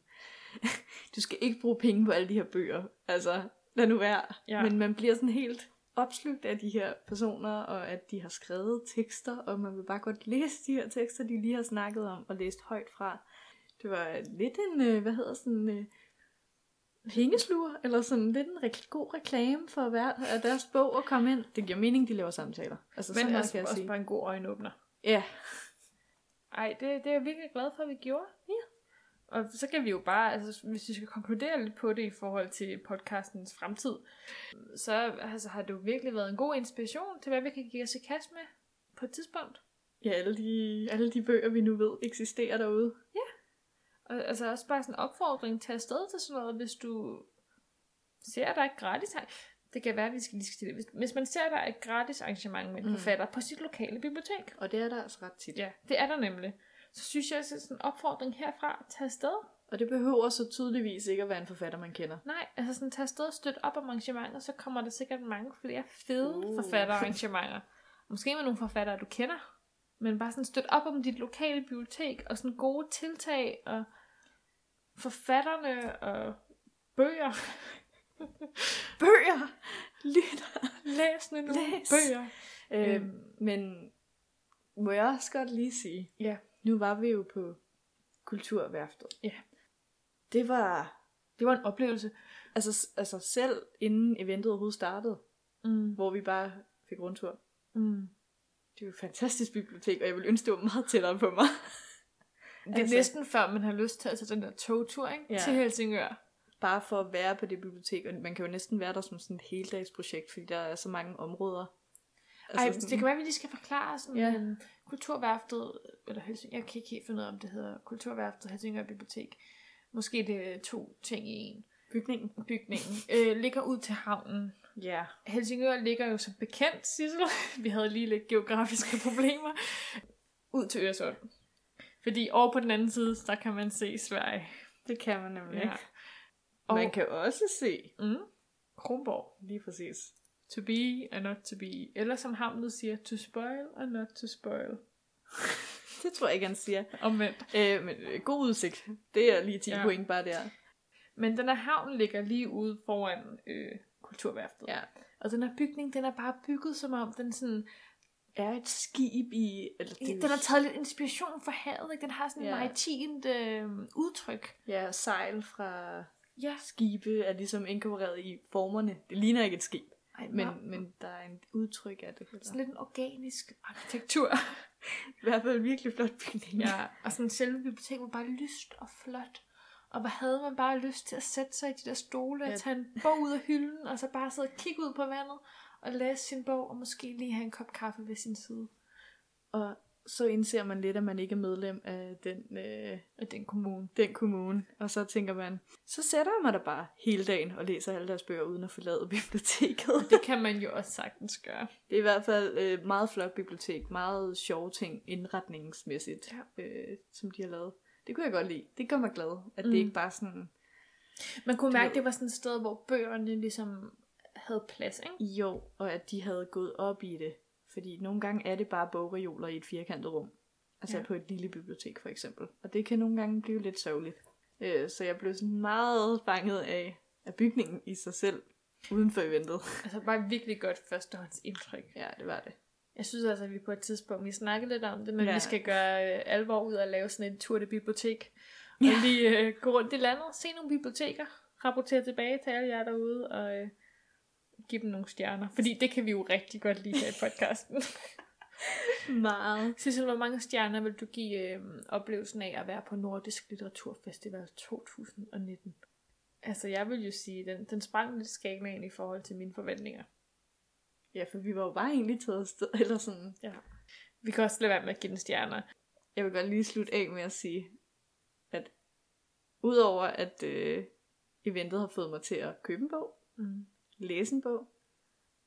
[SPEAKER 2] du skal ikke bruge penge på alle de her bøger. Altså, lad nu være.
[SPEAKER 3] Ja.
[SPEAKER 2] Men man bliver sådan helt opslugt af de her personer, og at de har skrevet tekster, og man vil bare godt læse de her tekster, de lige har snakket om og læst højt fra. Det var lidt en, øh, hvad hedder sådan, øh, pengesluger, eller sådan lidt en rek- god reklame for hver af deres bog at komme ind. Det giver mening, de laver samtaler. Altså, så
[SPEAKER 3] Men
[SPEAKER 2] meget
[SPEAKER 3] altså,
[SPEAKER 2] kan jeg
[SPEAKER 3] også
[SPEAKER 2] sige.
[SPEAKER 3] bare en god øjenåbner.
[SPEAKER 2] Ja,
[SPEAKER 3] Ej, det, det er jeg virkelig glad for, at vi gjorde. Ja. Og så kan vi jo bare, altså hvis vi skal konkludere lidt på det i forhold til podcastens fremtid, så altså, har det jo virkelig været en god inspiration til, hvad vi kan give os i kast med på et tidspunkt.
[SPEAKER 2] ja alle, de, alle de bøger, vi nu ved, eksisterer derude.
[SPEAKER 3] Og altså også bare sådan en opfordring til at afsted til sådan noget, hvis du ser, at der er et gratis det kan være, at vi skal lige skal til det. Hvis, hvis man ser, at der er et gratis arrangement med en
[SPEAKER 2] Mm.
[SPEAKER 3] forfatter på sit lokale bibliotek,
[SPEAKER 2] Og det er der altså ret tit.
[SPEAKER 3] ja, det er der nemlig, så synes jeg, at sådan en opfordring herfra, tag afsted.
[SPEAKER 2] Og det behøver så tydeligvis ikke at være en forfatter, man kender.
[SPEAKER 3] Nej, altså sådan tage afsted og støtte op om arrangementer, så kommer der sikkert mange flere fede
[SPEAKER 2] Uh.
[SPEAKER 3] uh. forfatterarrangementer. Måske med nogle forfattere, du kender. Men bare sådan støtte op om dit lokale bibliotek, og sådan gode tiltag, og forfatterne, og bøger.
[SPEAKER 2] Bøger! Lytter!
[SPEAKER 3] Læs nu nogle
[SPEAKER 2] Læs.
[SPEAKER 3] bøger.
[SPEAKER 2] Øhm,
[SPEAKER 3] Øhm,
[SPEAKER 2] Men må jeg også godt lige sige,
[SPEAKER 3] Ja.
[SPEAKER 2] nu var vi jo på Kulturværftet.
[SPEAKER 3] Ja.
[SPEAKER 2] Det var,
[SPEAKER 3] det var en oplevelse.
[SPEAKER 2] altså, altså selv inden eventet overhovedet startede,
[SPEAKER 3] Mm.
[SPEAKER 2] hvor vi bare fik rundtur.
[SPEAKER 3] Mm.
[SPEAKER 2] Det er jo et fantastisk bibliotek, og jeg ville ønske, det var meget tættere på mig.
[SPEAKER 3] Det er
[SPEAKER 2] Altså-
[SPEAKER 3] altså. næsten før, man har lyst til at tage den der togtur ikke?
[SPEAKER 2] Ja.
[SPEAKER 3] Ja. til Helsingør.
[SPEAKER 2] Bare for at være på det bibliotek, og man kan jo næsten være der som sådan et heldagsprojekt, fordi der er så mange områder.
[SPEAKER 3] Altså, Ej,
[SPEAKER 2] sådan-
[SPEAKER 3] det kan være, at vi lige skal forklare sådan,
[SPEAKER 2] Ja.
[SPEAKER 3] ja. um, kulturværftet, eller Helsing, jeg kan ikke helt finde ud af, om det hedder kulturværftet og Helsingør Bibliotek. Måske det er to ting i en
[SPEAKER 2] bygningen.
[SPEAKER 3] bygning. Øh, ligger ud til havnen.
[SPEAKER 2] Ja.
[SPEAKER 3] Helsingør ligger jo som bekendt, Sissel. Vi havde lige lidt geografiske problemer. Ud til Øresund. Fordi over på den anden side, der kan man se Sverige.
[SPEAKER 2] Det kan man nemlig
[SPEAKER 3] Ja.
[SPEAKER 2] ikke. Og
[SPEAKER 3] Og
[SPEAKER 2] man kan også se,
[SPEAKER 3] mm, Kronborg.
[SPEAKER 2] lige præcis,
[SPEAKER 3] To be and not to be. Eller som havnet siger, to spoil and not to spoil.
[SPEAKER 2] det tror jeg ikke, han siger,
[SPEAKER 3] Omvendt.
[SPEAKER 2] Øh, men øh, god udsigt. Det er lige 10 ja.
[SPEAKER 3] Ja.
[SPEAKER 2] point bare der.
[SPEAKER 3] Men den her havn ligger lige ude foran øh, kulturværftet.
[SPEAKER 2] Ja.
[SPEAKER 3] Og den her bygning, den er bare bygget som om, den sådan,
[SPEAKER 2] Er et skib i... Eller det,
[SPEAKER 3] den har taget lidt inspiration fra havet. Ikke? Den har sådan et
[SPEAKER 2] Ja.
[SPEAKER 3] maritimt øh, udtryk.
[SPEAKER 2] Ja, sejl fra
[SPEAKER 3] Ja.
[SPEAKER 2] skibe er ligesom inkorporeret i formerne. Det ligner ikke et skib,
[SPEAKER 3] Ej,
[SPEAKER 2] men,
[SPEAKER 3] men
[SPEAKER 2] men der er et udtryk af det.
[SPEAKER 3] sådan lidt en organisk arkitektur.
[SPEAKER 2] I hvert fald en virkelig flot bygning.
[SPEAKER 3] ja. Og sådan selve biblioteket var bare lyst og flot. Og hvad havde man bare lyst til at sætte sig i de der stole og
[SPEAKER 2] Ja.
[SPEAKER 3] tage en bog ud af hylden, og så bare sidde og kigge ud på vandet og læse sin bog, og måske lige have en kop kaffe ved sin side.
[SPEAKER 2] Og så indser man lidt, at man ikke er medlem af den, øh,
[SPEAKER 3] Og den kommune.
[SPEAKER 2] den kommune. Og så tænker man, så sætter jeg mig der bare hele dagen og læser alle deres bøger uden at forlade biblioteket.
[SPEAKER 3] Det kan man jo også sagtens gøre.
[SPEAKER 2] Det er i hvert fald øh, meget flot bibliotek, meget sjove ting indretningsmæssigt, ja. øh, som de har lavet. Det kunne jeg godt lide. Det gør mig glad, at mm. det
[SPEAKER 3] Mm.
[SPEAKER 2] ikke bare sådan,
[SPEAKER 3] Man kunne
[SPEAKER 2] Det
[SPEAKER 3] mærke,
[SPEAKER 2] var-
[SPEAKER 3] at det var sådan et sted, hvor bøgerne ligesom havde plads, ikke?
[SPEAKER 2] jo, og at de havde gået op i det. Fordi nogle gange er det bare bogreoler i et firkantet rum. Altså ja.
[SPEAKER 3] Ja.
[SPEAKER 2] på et lille bibliotek for eksempel. Og det kan nogle gange blive lidt sørgeligt. Øh, så jeg blev sådan meget fanget af, af bygningen i sig selv, uden for eventet.
[SPEAKER 3] Altså bare et virkelig godt førstehåndsindtryk.
[SPEAKER 2] Ja, det var det.
[SPEAKER 3] Jeg synes altså, at vi på et tidspunkt, vi snakkede lidt om det, men
[SPEAKER 2] Ja.
[SPEAKER 3] ja. vi skal gøre øh, alvor ud og lave sådan en tur til bibliotek. Og ja. lige øh, gå rundt i landet, se nogle biblioteker, rapportere tilbage til alle jer derude, og øh, give dem nogle stjerner. Fordi det kan vi jo rigtig godt lide her i podcasten.
[SPEAKER 2] Meget.
[SPEAKER 3] Sissel, hvor mange stjerner vil du give øh, oplevelsen af at være på Nordisk Litteraturfestival 2019? Altså, jeg vil jo sige, den, den sprang lidt skalaen i forhold til mine forventninger.
[SPEAKER 2] Ja, for vi var jo bare egentlig taget afsted, eller sådan.
[SPEAKER 3] Vi kan også lade være med at give den stjerner.
[SPEAKER 2] Jeg vil godt lige slutte af med at sige, at udover at øh, eventet har fået mig til at købe en bog,
[SPEAKER 3] Mm.
[SPEAKER 2] læse en bog,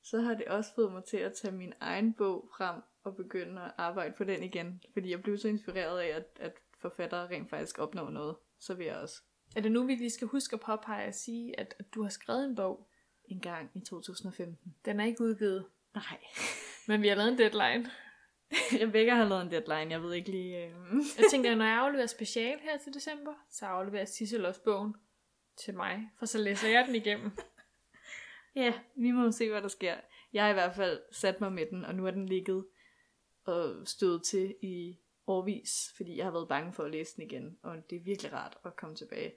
[SPEAKER 2] så har det også fået mig til at tage min egen bog frem og begynde at arbejde på den igen. Fordi jeg blev så inspireret af, at, at forfattere rent faktisk opnår noget. Så vil jeg også
[SPEAKER 3] Er det nu, vi lige skal huske at påpege at sige, at at du har skrevet en bog?
[SPEAKER 2] en gang i 2015.
[SPEAKER 3] Den er ikke udgivet,
[SPEAKER 2] Nej.
[SPEAKER 3] men vi har lavet en deadline.
[SPEAKER 2] Rebecca har lavet en deadline, jeg ved ikke lige... Øh...
[SPEAKER 3] Jeg tænker, at når jeg afleverer special her til december, så afleverer Sissel også bogen til mig, for så læser jeg den igennem.
[SPEAKER 2] Ja, vi må jo se, hvad der sker. Jeg har i hvert fald sat mig med den, og nu er den ligget og stået til i årvis, fordi jeg har været bange for at læse den igen, og det er virkelig rart at komme tilbage.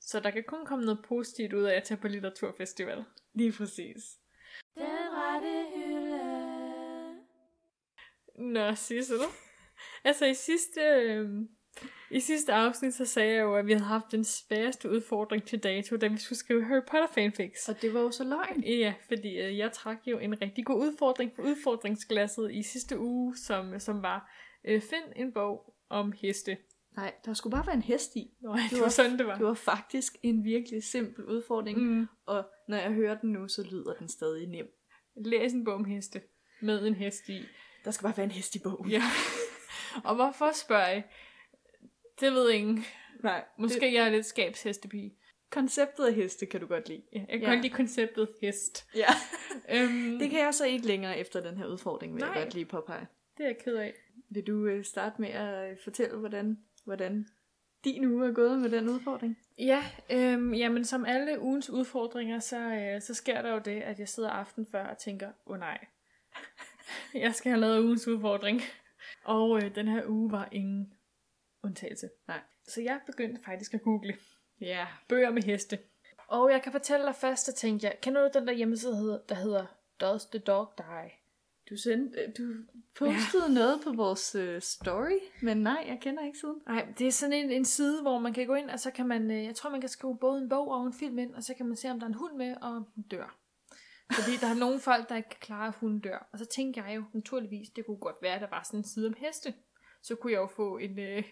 [SPEAKER 3] Så der kan kun komme noget positivt ud af at tage på litteraturfestival.
[SPEAKER 2] Lige præcis.
[SPEAKER 1] Den rette hylde.
[SPEAKER 3] Nå, Sissel. Altså i sidste, øh, i sidste afsnit, så sagde jeg jo, at vi havde haft den sværeste udfordring til dato, da vi skulle skrive Harry Potter fanfics.
[SPEAKER 2] Og det var jo så løgn.
[SPEAKER 3] Ja, fordi øh, jeg trak jo en rigtig god udfordring for udfordringsglasset i sidste uge, som, som var, øh, find en bog om heste.
[SPEAKER 2] Nej, der skulle bare være en hest i.
[SPEAKER 3] Nå, det,
[SPEAKER 2] Det
[SPEAKER 3] det var
[SPEAKER 2] var-
[SPEAKER 3] sådan, det var.
[SPEAKER 2] Det var faktisk en virkelig simpel udfordring, mm.
[SPEAKER 3] Mm.
[SPEAKER 2] og når jeg hører den nu, så lyder den stadig nem.
[SPEAKER 3] Læs en bog om heste. Med en hest i.
[SPEAKER 2] Der skal bare være en hest i bogen.
[SPEAKER 3] Ja. Og hvorfor spørger jeg? Det ved ingen.
[SPEAKER 2] Nej,
[SPEAKER 3] Måske
[SPEAKER 2] Det,
[SPEAKER 3] det... jeg er lidt skabshestepige.
[SPEAKER 2] konceptet af heste kan du godt lide.
[SPEAKER 3] Ja, jeg kan
[SPEAKER 2] Ja.
[SPEAKER 3] godt lide konceptet hest.
[SPEAKER 2] Ja.
[SPEAKER 3] Øhm,
[SPEAKER 2] Det kan jeg så ikke længere efter den her udfordring, vil Nej.
[SPEAKER 3] Nej.
[SPEAKER 2] jeg godt lige påpege.
[SPEAKER 3] det er jeg ked af.
[SPEAKER 2] Vil du øh, starte med at øh, fortælle, hvordan, hvordan din uge er gået med den udfordring?
[SPEAKER 3] Ja, øhm, jamen som alle ugens udfordringer, så, øh, så sker der jo det, at jeg sidder aften før og tænker, åh oh, nej, jeg skal have lavet ugens udfordring. Og øh, den her uge var ingen undtagelse.
[SPEAKER 2] Nej.
[SPEAKER 3] Så jeg begyndte faktisk at google
[SPEAKER 2] Ja.
[SPEAKER 3] bøger med heste. Og jeg kan fortælle dig først, at tænkte jeg, kender du den der hjemmeside, der hedder, der hedder Does the Dog Die?
[SPEAKER 2] Du, sendte, øh, du postede ja. noget på vores øh, story, men nej, jeg kender ikke siden.
[SPEAKER 3] Nej, det er sådan en, en side, hvor man kan gå ind, og så kan man, øh, jeg tror, man kan skrive både en bog og en film ind, og så kan man se, om der er en hund med, og om den dør. Fordi der er nogle folk, der ikke kan klare, at hunden dør. Og så tænkte jeg jo naturligvis, det kunne godt være, at der var sådan en side om heste. Så kunne jeg jo få en øh,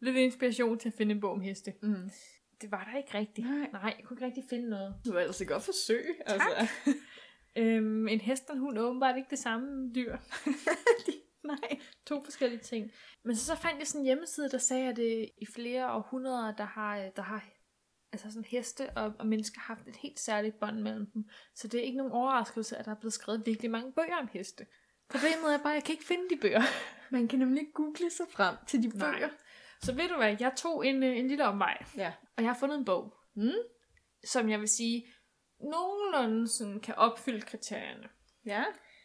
[SPEAKER 3] lidt inspiration til at finde en bog om heste.
[SPEAKER 2] Mm.
[SPEAKER 3] Det var der ikke rigtigt.
[SPEAKER 2] Nej.
[SPEAKER 3] Nej, jeg kunne ikke rigtig finde noget.
[SPEAKER 2] Det var ellers et altså godt altså. forsøg.
[SPEAKER 3] Tak. Øhm, en hest og en hund er åbenbart ikke det samme dyr.
[SPEAKER 2] nej.
[SPEAKER 3] To forskellige ting. Men så, så fandt jeg sådan en hjemmeside, der sagde, at øh, i flere århundreder, der har, øh, der har altså sådan heste og, og mennesker haft et helt særligt bånd mellem dem. Så det er ikke nogen overraskelse, at der er blevet skrevet virkelig mange bøger om heste. Problemet er bare, at jeg kan ikke finde de bøger.
[SPEAKER 2] Man kan nemlig ikke google sig frem til de
[SPEAKER 3] Nej.
[SPEAKER 2] bøger.
[SPEAKER 3] Så ved du hvad, jeg tog en, øh, en lille omvej,
[SPEAKER 2] Ja.
[SPEAKER 3] og jeg har fundet en bog, hmm?
[SPEAKER 2] Mm.
[SPEAKER 3] som jeg vil sige, nogenlunde sådan kan opfylde kriterierne.
[SPEAKER 2] ja,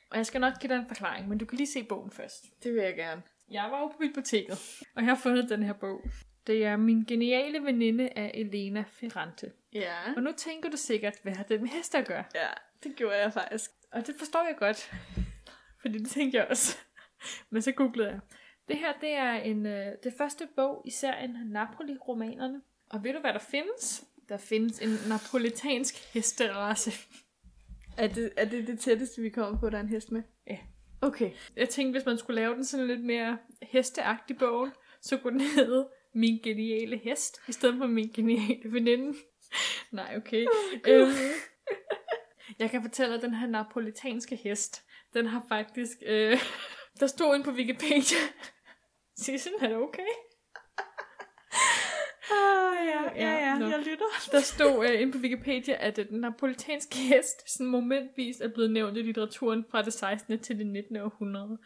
[SPEAKER 3] Og jeg skal nok give dig en forklaring, men du kan lige se bogen først.
[SPEAKER 2] det vil jeg gerne.
[SPEAKER 3] Jeg var jo på biblioteket, og jeg har fundet den her bog. Det er Min geniale veninde af Elena Ferrante.
[SPEAKER 2] Ja.
[SPEAKER 3] Og nu tænker du sikkert, hvad har det med heste at gøre?
[SPEAKER 2] Ja, det gjorde jeg faktisk.
[SPEAKER 3] Og det forstår jeg godt, fordi det tænkte jeg også. Men så googlede jeg. Det her, det er en, øh, det første bog i serien Napoli-romanerne. Og ved du, hvad der findes? Der findes en napolitansk hesterace.
[SPEAKER 2] Er det, er det det tætteste, vi kommer på, at der er en hest med?
[SPEAKER 3] Ja.
[SPEAKER 2] Okay.
[SPEAKER 3] Jeg tænkte, hvis man skulle lave den sådan lidt mere hesteagtig bogen, så kunne den hedde Min geniale hest, i stedet for Min geniale veninde. Nej, okay. Oh, øhm, jeg kan fortælle, at den her napolitanske hest, den har faktisk... Øh, der stod inde på Wikipedia. Sissel, er det okay?
[SPEAKER 2] Ah, ja,
[SPEAKER 3] ja, ja, jeg
[SPEAKER 2] lytter.
[SPEAKER 3] Der stod øh, inde på Wikipedia, at øh, den napolitanske hest sådan momentvis er blevet nævnt i litteraturen fra det 16. til det 19. århundrede.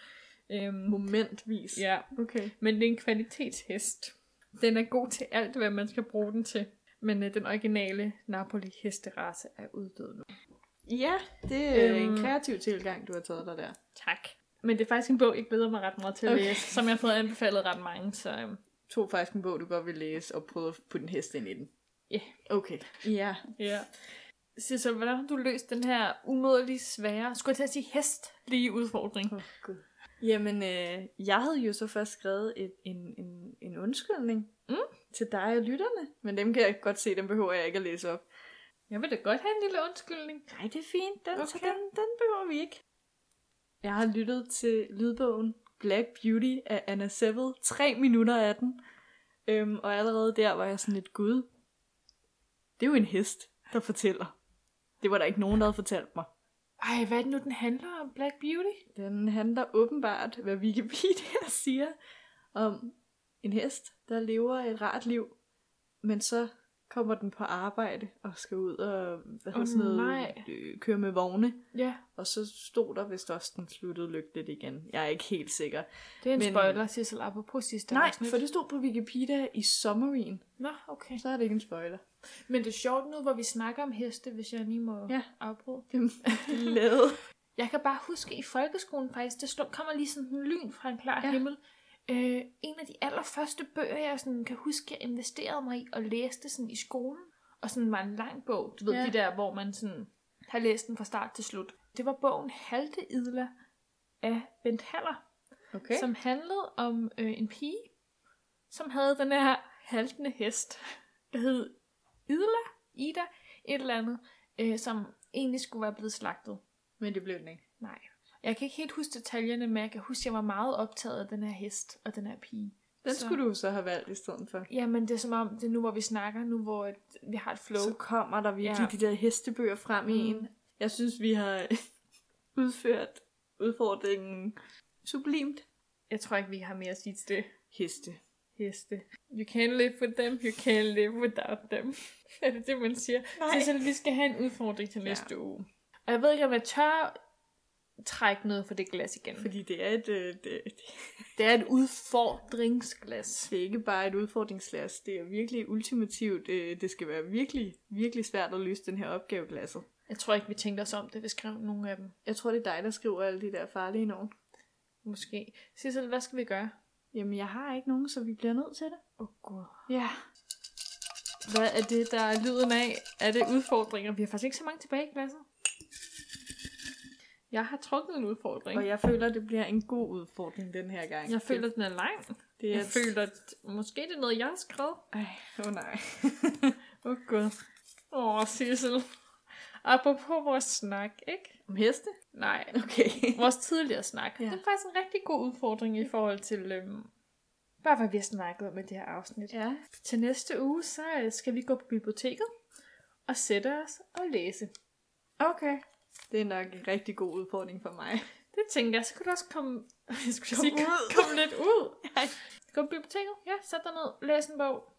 [SPEAKER 3] Øhm,
[SPEAKER 2] Momentvis.
[SPEAKER 3] ja,
[SPEAKER 2] Okay.
[SPEAKER 3] Men det er en kvalitetshest. Den er god til alt, hvad man skal bruge den til. Men øh, den originale Napoli-hesterace er uddød nu.
[SPEAKER 2] Ja, det er øhm.
[SPEAKER 3] Øhm.
[SPEAKER 2] en kreativ tilgang, du har taget dig der.
[SPEAKER 3] Tak. Men det er faktisk en bog, jeg glæder mig ret meget til at
[SPEAKER 2] Okay.
[SPEAKER 3] læse, som jeg har fået anbefalet ret mange. Så øhm,
[SPEAKER 2] Tog faktisk en bog, du godt vil læse, og prøvede at putte en hest ind i den.
[SPEAKER 3] Ja.
[SPEAKER 2] Okay. Ja.
[SPEAKER 3] ja. Så, så hvordan har du løst den her umådelig svære, skulle jeg til at sige hestlige udfordring?
[SPEAKER 2] Oh, Gud. Jamen, øh, jeg havde jo så først skrevet et, en, en, en undskyldning
[SPEAKER 3] Mm.
[SPEAKER 2] til dig og lytterne, men dem kan jeg godt se, dem behøver jeg ikke at læse op.
[SPEAKER 3] Jeg vil da godt have en lille undskyldning.
[SPEAKER 2] Nej, det er fint. Den, okay.
[SPEAKER 3] Okay.
[SPEAKER 2] den, den behøver vi ikke. Jeg har lyttet til lydbogen Black Beauty af Anna Seville. Tre minutter af den. Øhm, og allerede der var jeg sådan lidt, gud, det er jo en hest, der fortæller. Det var der ikke nogen, der havde fortalt mig.
[SPEAKER 3] Ej, hvad er det nu, den handler om? Black Beauty?
[SPEAKER 2] Den handler åbenbart, hvad Wikipedia siger, om en hest, der lever et rart liv, men så kommer den på arbejde og skal ud og hvad hedder
[SPEAKER 3] Åh,
[SPEAKER 2] sådan noget,
[SPEAKER 3] nej.
[SPEAKER 2] øh, køre med vogne.
[SPEAKER 3] Ja,
[SPEAKER 2] Og så stod der vist også, den sluttede lykkeligt igen. Jeg er ikke helt sikker.
[SPEAKER 3] det er en
[SPEAKER 2] Men-
[SPEAKER 3] Men... spoiler, Sissel, apropos sidste
[SPEAKER 2] Nej,
[SPEAKER 3] afsnit.
[SPEAKER 2] for det stod på Wikipedia i summaryen.
[SPEAKER 3] Nå, okay.
[SPEAKER 2] Så er det ikke en spoiler.
[SPEAKER 3] Men det er sjovt nu, hvor vi snakker om heste, hvis jeg lige må
[SPEAKER 2] Ja.
[SPEAKER 3] ja. afbryde.
[SPEAKER 2] Lade.
[SPEAKER 3] Jeg kan bare huske i folkeskolen faktisk, der stod, kommer lige sådan en lyn fra en klar
[SPEAKER 2] Ja.
[SPEAKER 3] ja. himmel. Øh, en af de allerførste bøger, jeg sådan kan huske, jeg investerede mig i og læste sådan i skolen. Og sådan var en lang bog, du ved
[SPEAKER 2] Ja.
[SPEAKER 3] ja. de der, hvor man sådan har læst den fra start til slut. Det var bogen Halte Idler af Bent Haller,
[SPEAKER 2] Okay.
[SPEAKER 3] som handlede om øh, en pige, som havde den her haltende hest, der hed Idla, Ida, et eller andet, øh, som egentlig skulle være blevet slagtet.
[SPEAKER 2] Men det blev den ikke.
[SPEAKER 3] Nej. Jeg kan ikke helt huske detaljerne, men jeg kan huske, at jeg var meget optaget af den her hest og den her pige.
[SPEAKER 2] Den så.
[SPEAKER 3] Så-
[SPEAKER 2] skulle du så have valgt i stedet for.
[SPEAKER 3] Jamen, det er som om, det er nu, hvor vi snakker, nu hvor et, vi har et flow.
[SPEAKER 2] Så kommer der virkelig ja.
[SPEAKER 3] Ja.
[SPEAKER 2] de der hestebøger frem mm. i en. Jeg synes, vi har udført udfordringen sublimt.
[SPEAKER 3] Jeg tror ikke, vi har mere at sige til det.
[SPEAKER 2] Heste.
[SPEAKER 3] Heste. You can live with them, you can live without them. er det det, man siger? Nej. Så vi skal have en udfordring til
[SPEAKER 2] Ja.
[SPEAKER 3] næste ja. uge. Og jeg ved ikke, om jeg tør trække noget for det glas igen. Fordi
[SPEAKER 2] Fordi det er, et, øh, det,
[SPEAKER 3] det er et udfordringsglas.
[SPEAKER 2] det er ikke bare et udfordringsglas. Det er virkelig ultimativt. Øh, Det skal være virkelig, virkelig svært at løse den her opgave glasset.
[SPEAKER 3] Jeg tror ikke, vi tænkte os om det, vi skrev nogle af dem.
[SPEAKER 2] Jeg tror, det er dig, der skriver alle de der farlige navn.
[SPEAKER 3] Måske. Sissel, hvad skal vi gøre?
[SPEAKER 2] Jamen, jeg har ikke nogen, så vi bliver nødt til det.
[SPEAKER 3] Åh, oh, gud.
[SPEAKER 2] Ja.
[SPEAKER 3] Hvad er det, der er lyden af? Er det udfordringer? Vi har faktisk ikke så mange tilbage i glasset. Jeg har trukket en udfordring.
[SPEAKER 2] Og
[SPEAKER 3] Jeg,
[SPEAKER 2] jeg føler, det bliver en god udfordring den her gang.
[SPEAKER 3] jeg føler, den er lang.
[SPEAKER 2] det
[SPEAKER 3] Jeg føler, at måske det er noget, jeg har skrevet.
[SPEAKER 2] Ej, åh oh nej.
[SPEAKER 3] Åh, oh, gud. Åh, oh, Sissel. Apropos vores snak, ikke?
[SPEAKER 2] Om heste?
[SPEAKER 3] Nej.
[SPEAKER 2] Okay.
[SPEAKER 3] Vores tidligere snak.
[SPEAKER 2] Ja.
[SPEAKER 3] Ja. Det er faktisk en rigtig god udfordring i forhold til... Øhm, bare hvad vi har snakket om i det her afsnit.
[SPEAKER 2] ja.
[SPEAKER 3] Til næste uge, så øh, skal vi gå på biblioteket og sætte os og læse.
[SPEAKER 2] Okay. Det er nok en rigtig god udfordring for mig.
[SPEAKER 3] Det tænker jeg, så kan du også komme, jeg skulle
[SPEAKER 2] Kom
[SPEAKER 3] kom, sige,
[SPEAKER 2] ud.
[SPEAKER 3] ud. kom lidt ud.
[SPEAKER 2] Ej.
[SPEAKER 3] Gå på biblioteket, ja, sæt dig ned, læs en bog.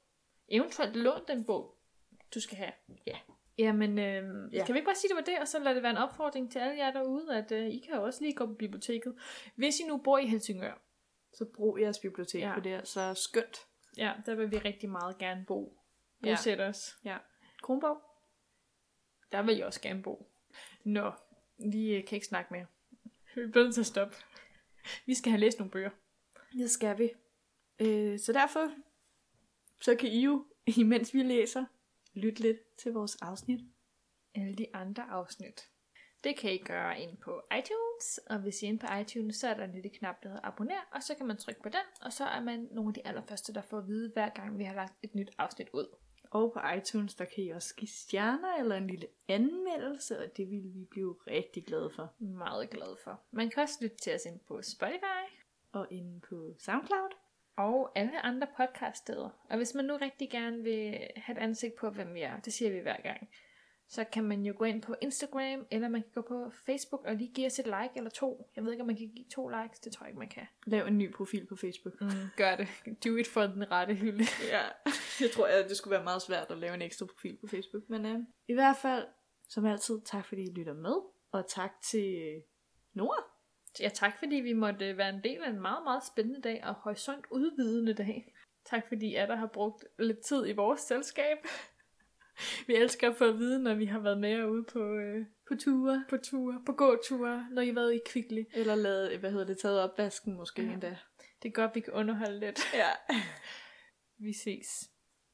[SPEAKER 3] Eventuelt lån den bog, du skal have. Ja. Jamen, øh,
[SPEAKER 2] Ja.
[SPEAKER 3] ja. kan vi ikke bare sige, det var det, og så lad det være en opfordring til alle jer derude, at øh, I kan jo også lige gå på biblioteket, hvis I nu bor i Helsingør.
[SPEAKER 2] Så brug jeres bibliotek ja.
[SPEAKER 3] Ja.
[SPEAKER 2] på det her. Så skønt.
[SPEAKER 3] Ja, der vil vi rigtig meget gerne bo.
[SPEAKER 2] Ja.
[SPEAKER 3] Bosæt ja. os.
[SPEAKER 2] Ja. Kronborg?
[SPEAKER 3] Der vil jeg også gerne bo. Nå, vi øh, kan ikke snakke mere. Vi bliver nødt til at stoppe. Vi skal have læst nogle bøger.
[SPEAKER 2] Det skal vi. Øh, så derfor, så kan I jo, imens vi læser, lytte lidt til vores afsnit.
[SPEAKER 3] alle de andre afsnit. Det kan I gøre ind på iTunes, og hvis I er inde på iTunes, så er der en lille knap, der hedder abonner, og så kan man trykke på den, og så er man nogle af de allerførste, der får at vide, hver gang vi har lagt et nyt afsnit ud.
[SPEAKER 2] Og på iTunes, der kan I også give stjerner eller en lille anmeldelse, og det vil vi blive rigtig glade for.
[SPEAKER 3] Meget glad for. Man kan også lytte til os ind på Spotify
[SPEAKER 2] Og inde på SoundCloud.
[SPEAKER 3] og alle andre podcaststeder. Og hvis man nu rigtig gerne vil have et ansigt på, hvem vi er, det siger vi hver gang, så kan man jo gå ind på Instagram, eller man kan gå på Facebook og lige give os et like eller to. Jeg ved ikke, om man kan give to likes, det tror jeg ikke, man kan.
[SPEAKER 2] Lav en ny profil på Facebook.
[SPEAKER 3] Mm, gør det. Do it for den rette hylde.
[SPEAKER 2] Ja, jeg tror, at det skulle være meget svært at lave en ekstra profil på Facebook. Men øh, i hvert fald, som altid, tak fordi I lytter med. Og tak til Nora.
[SPEAKER 3] Ja, tak fordi vi måtte øh, være en del af en meget, meget spændende dag og horisont udvidende dag. Tak fordi I er der har brugt lidt tid i vores selskab. Vi elsker at få at vide, når vi har været med jer ude på, øh,
[SPEAKER 2] På ture.
[SPEAKER 3] på ture, på gåture, når I har været i Kvickly.
[SPEAKER 2] Eller lavet, hvad hedder det, taget opvasken måske ja.
[SPEAKER 3] Ja.
[SPEAKER 2] endda.
[SPEAKER 3] Det er godt, vi kan underholde lidt.
[SPEAKER 2] Ja.
[SPEAKER 3] Vi ses.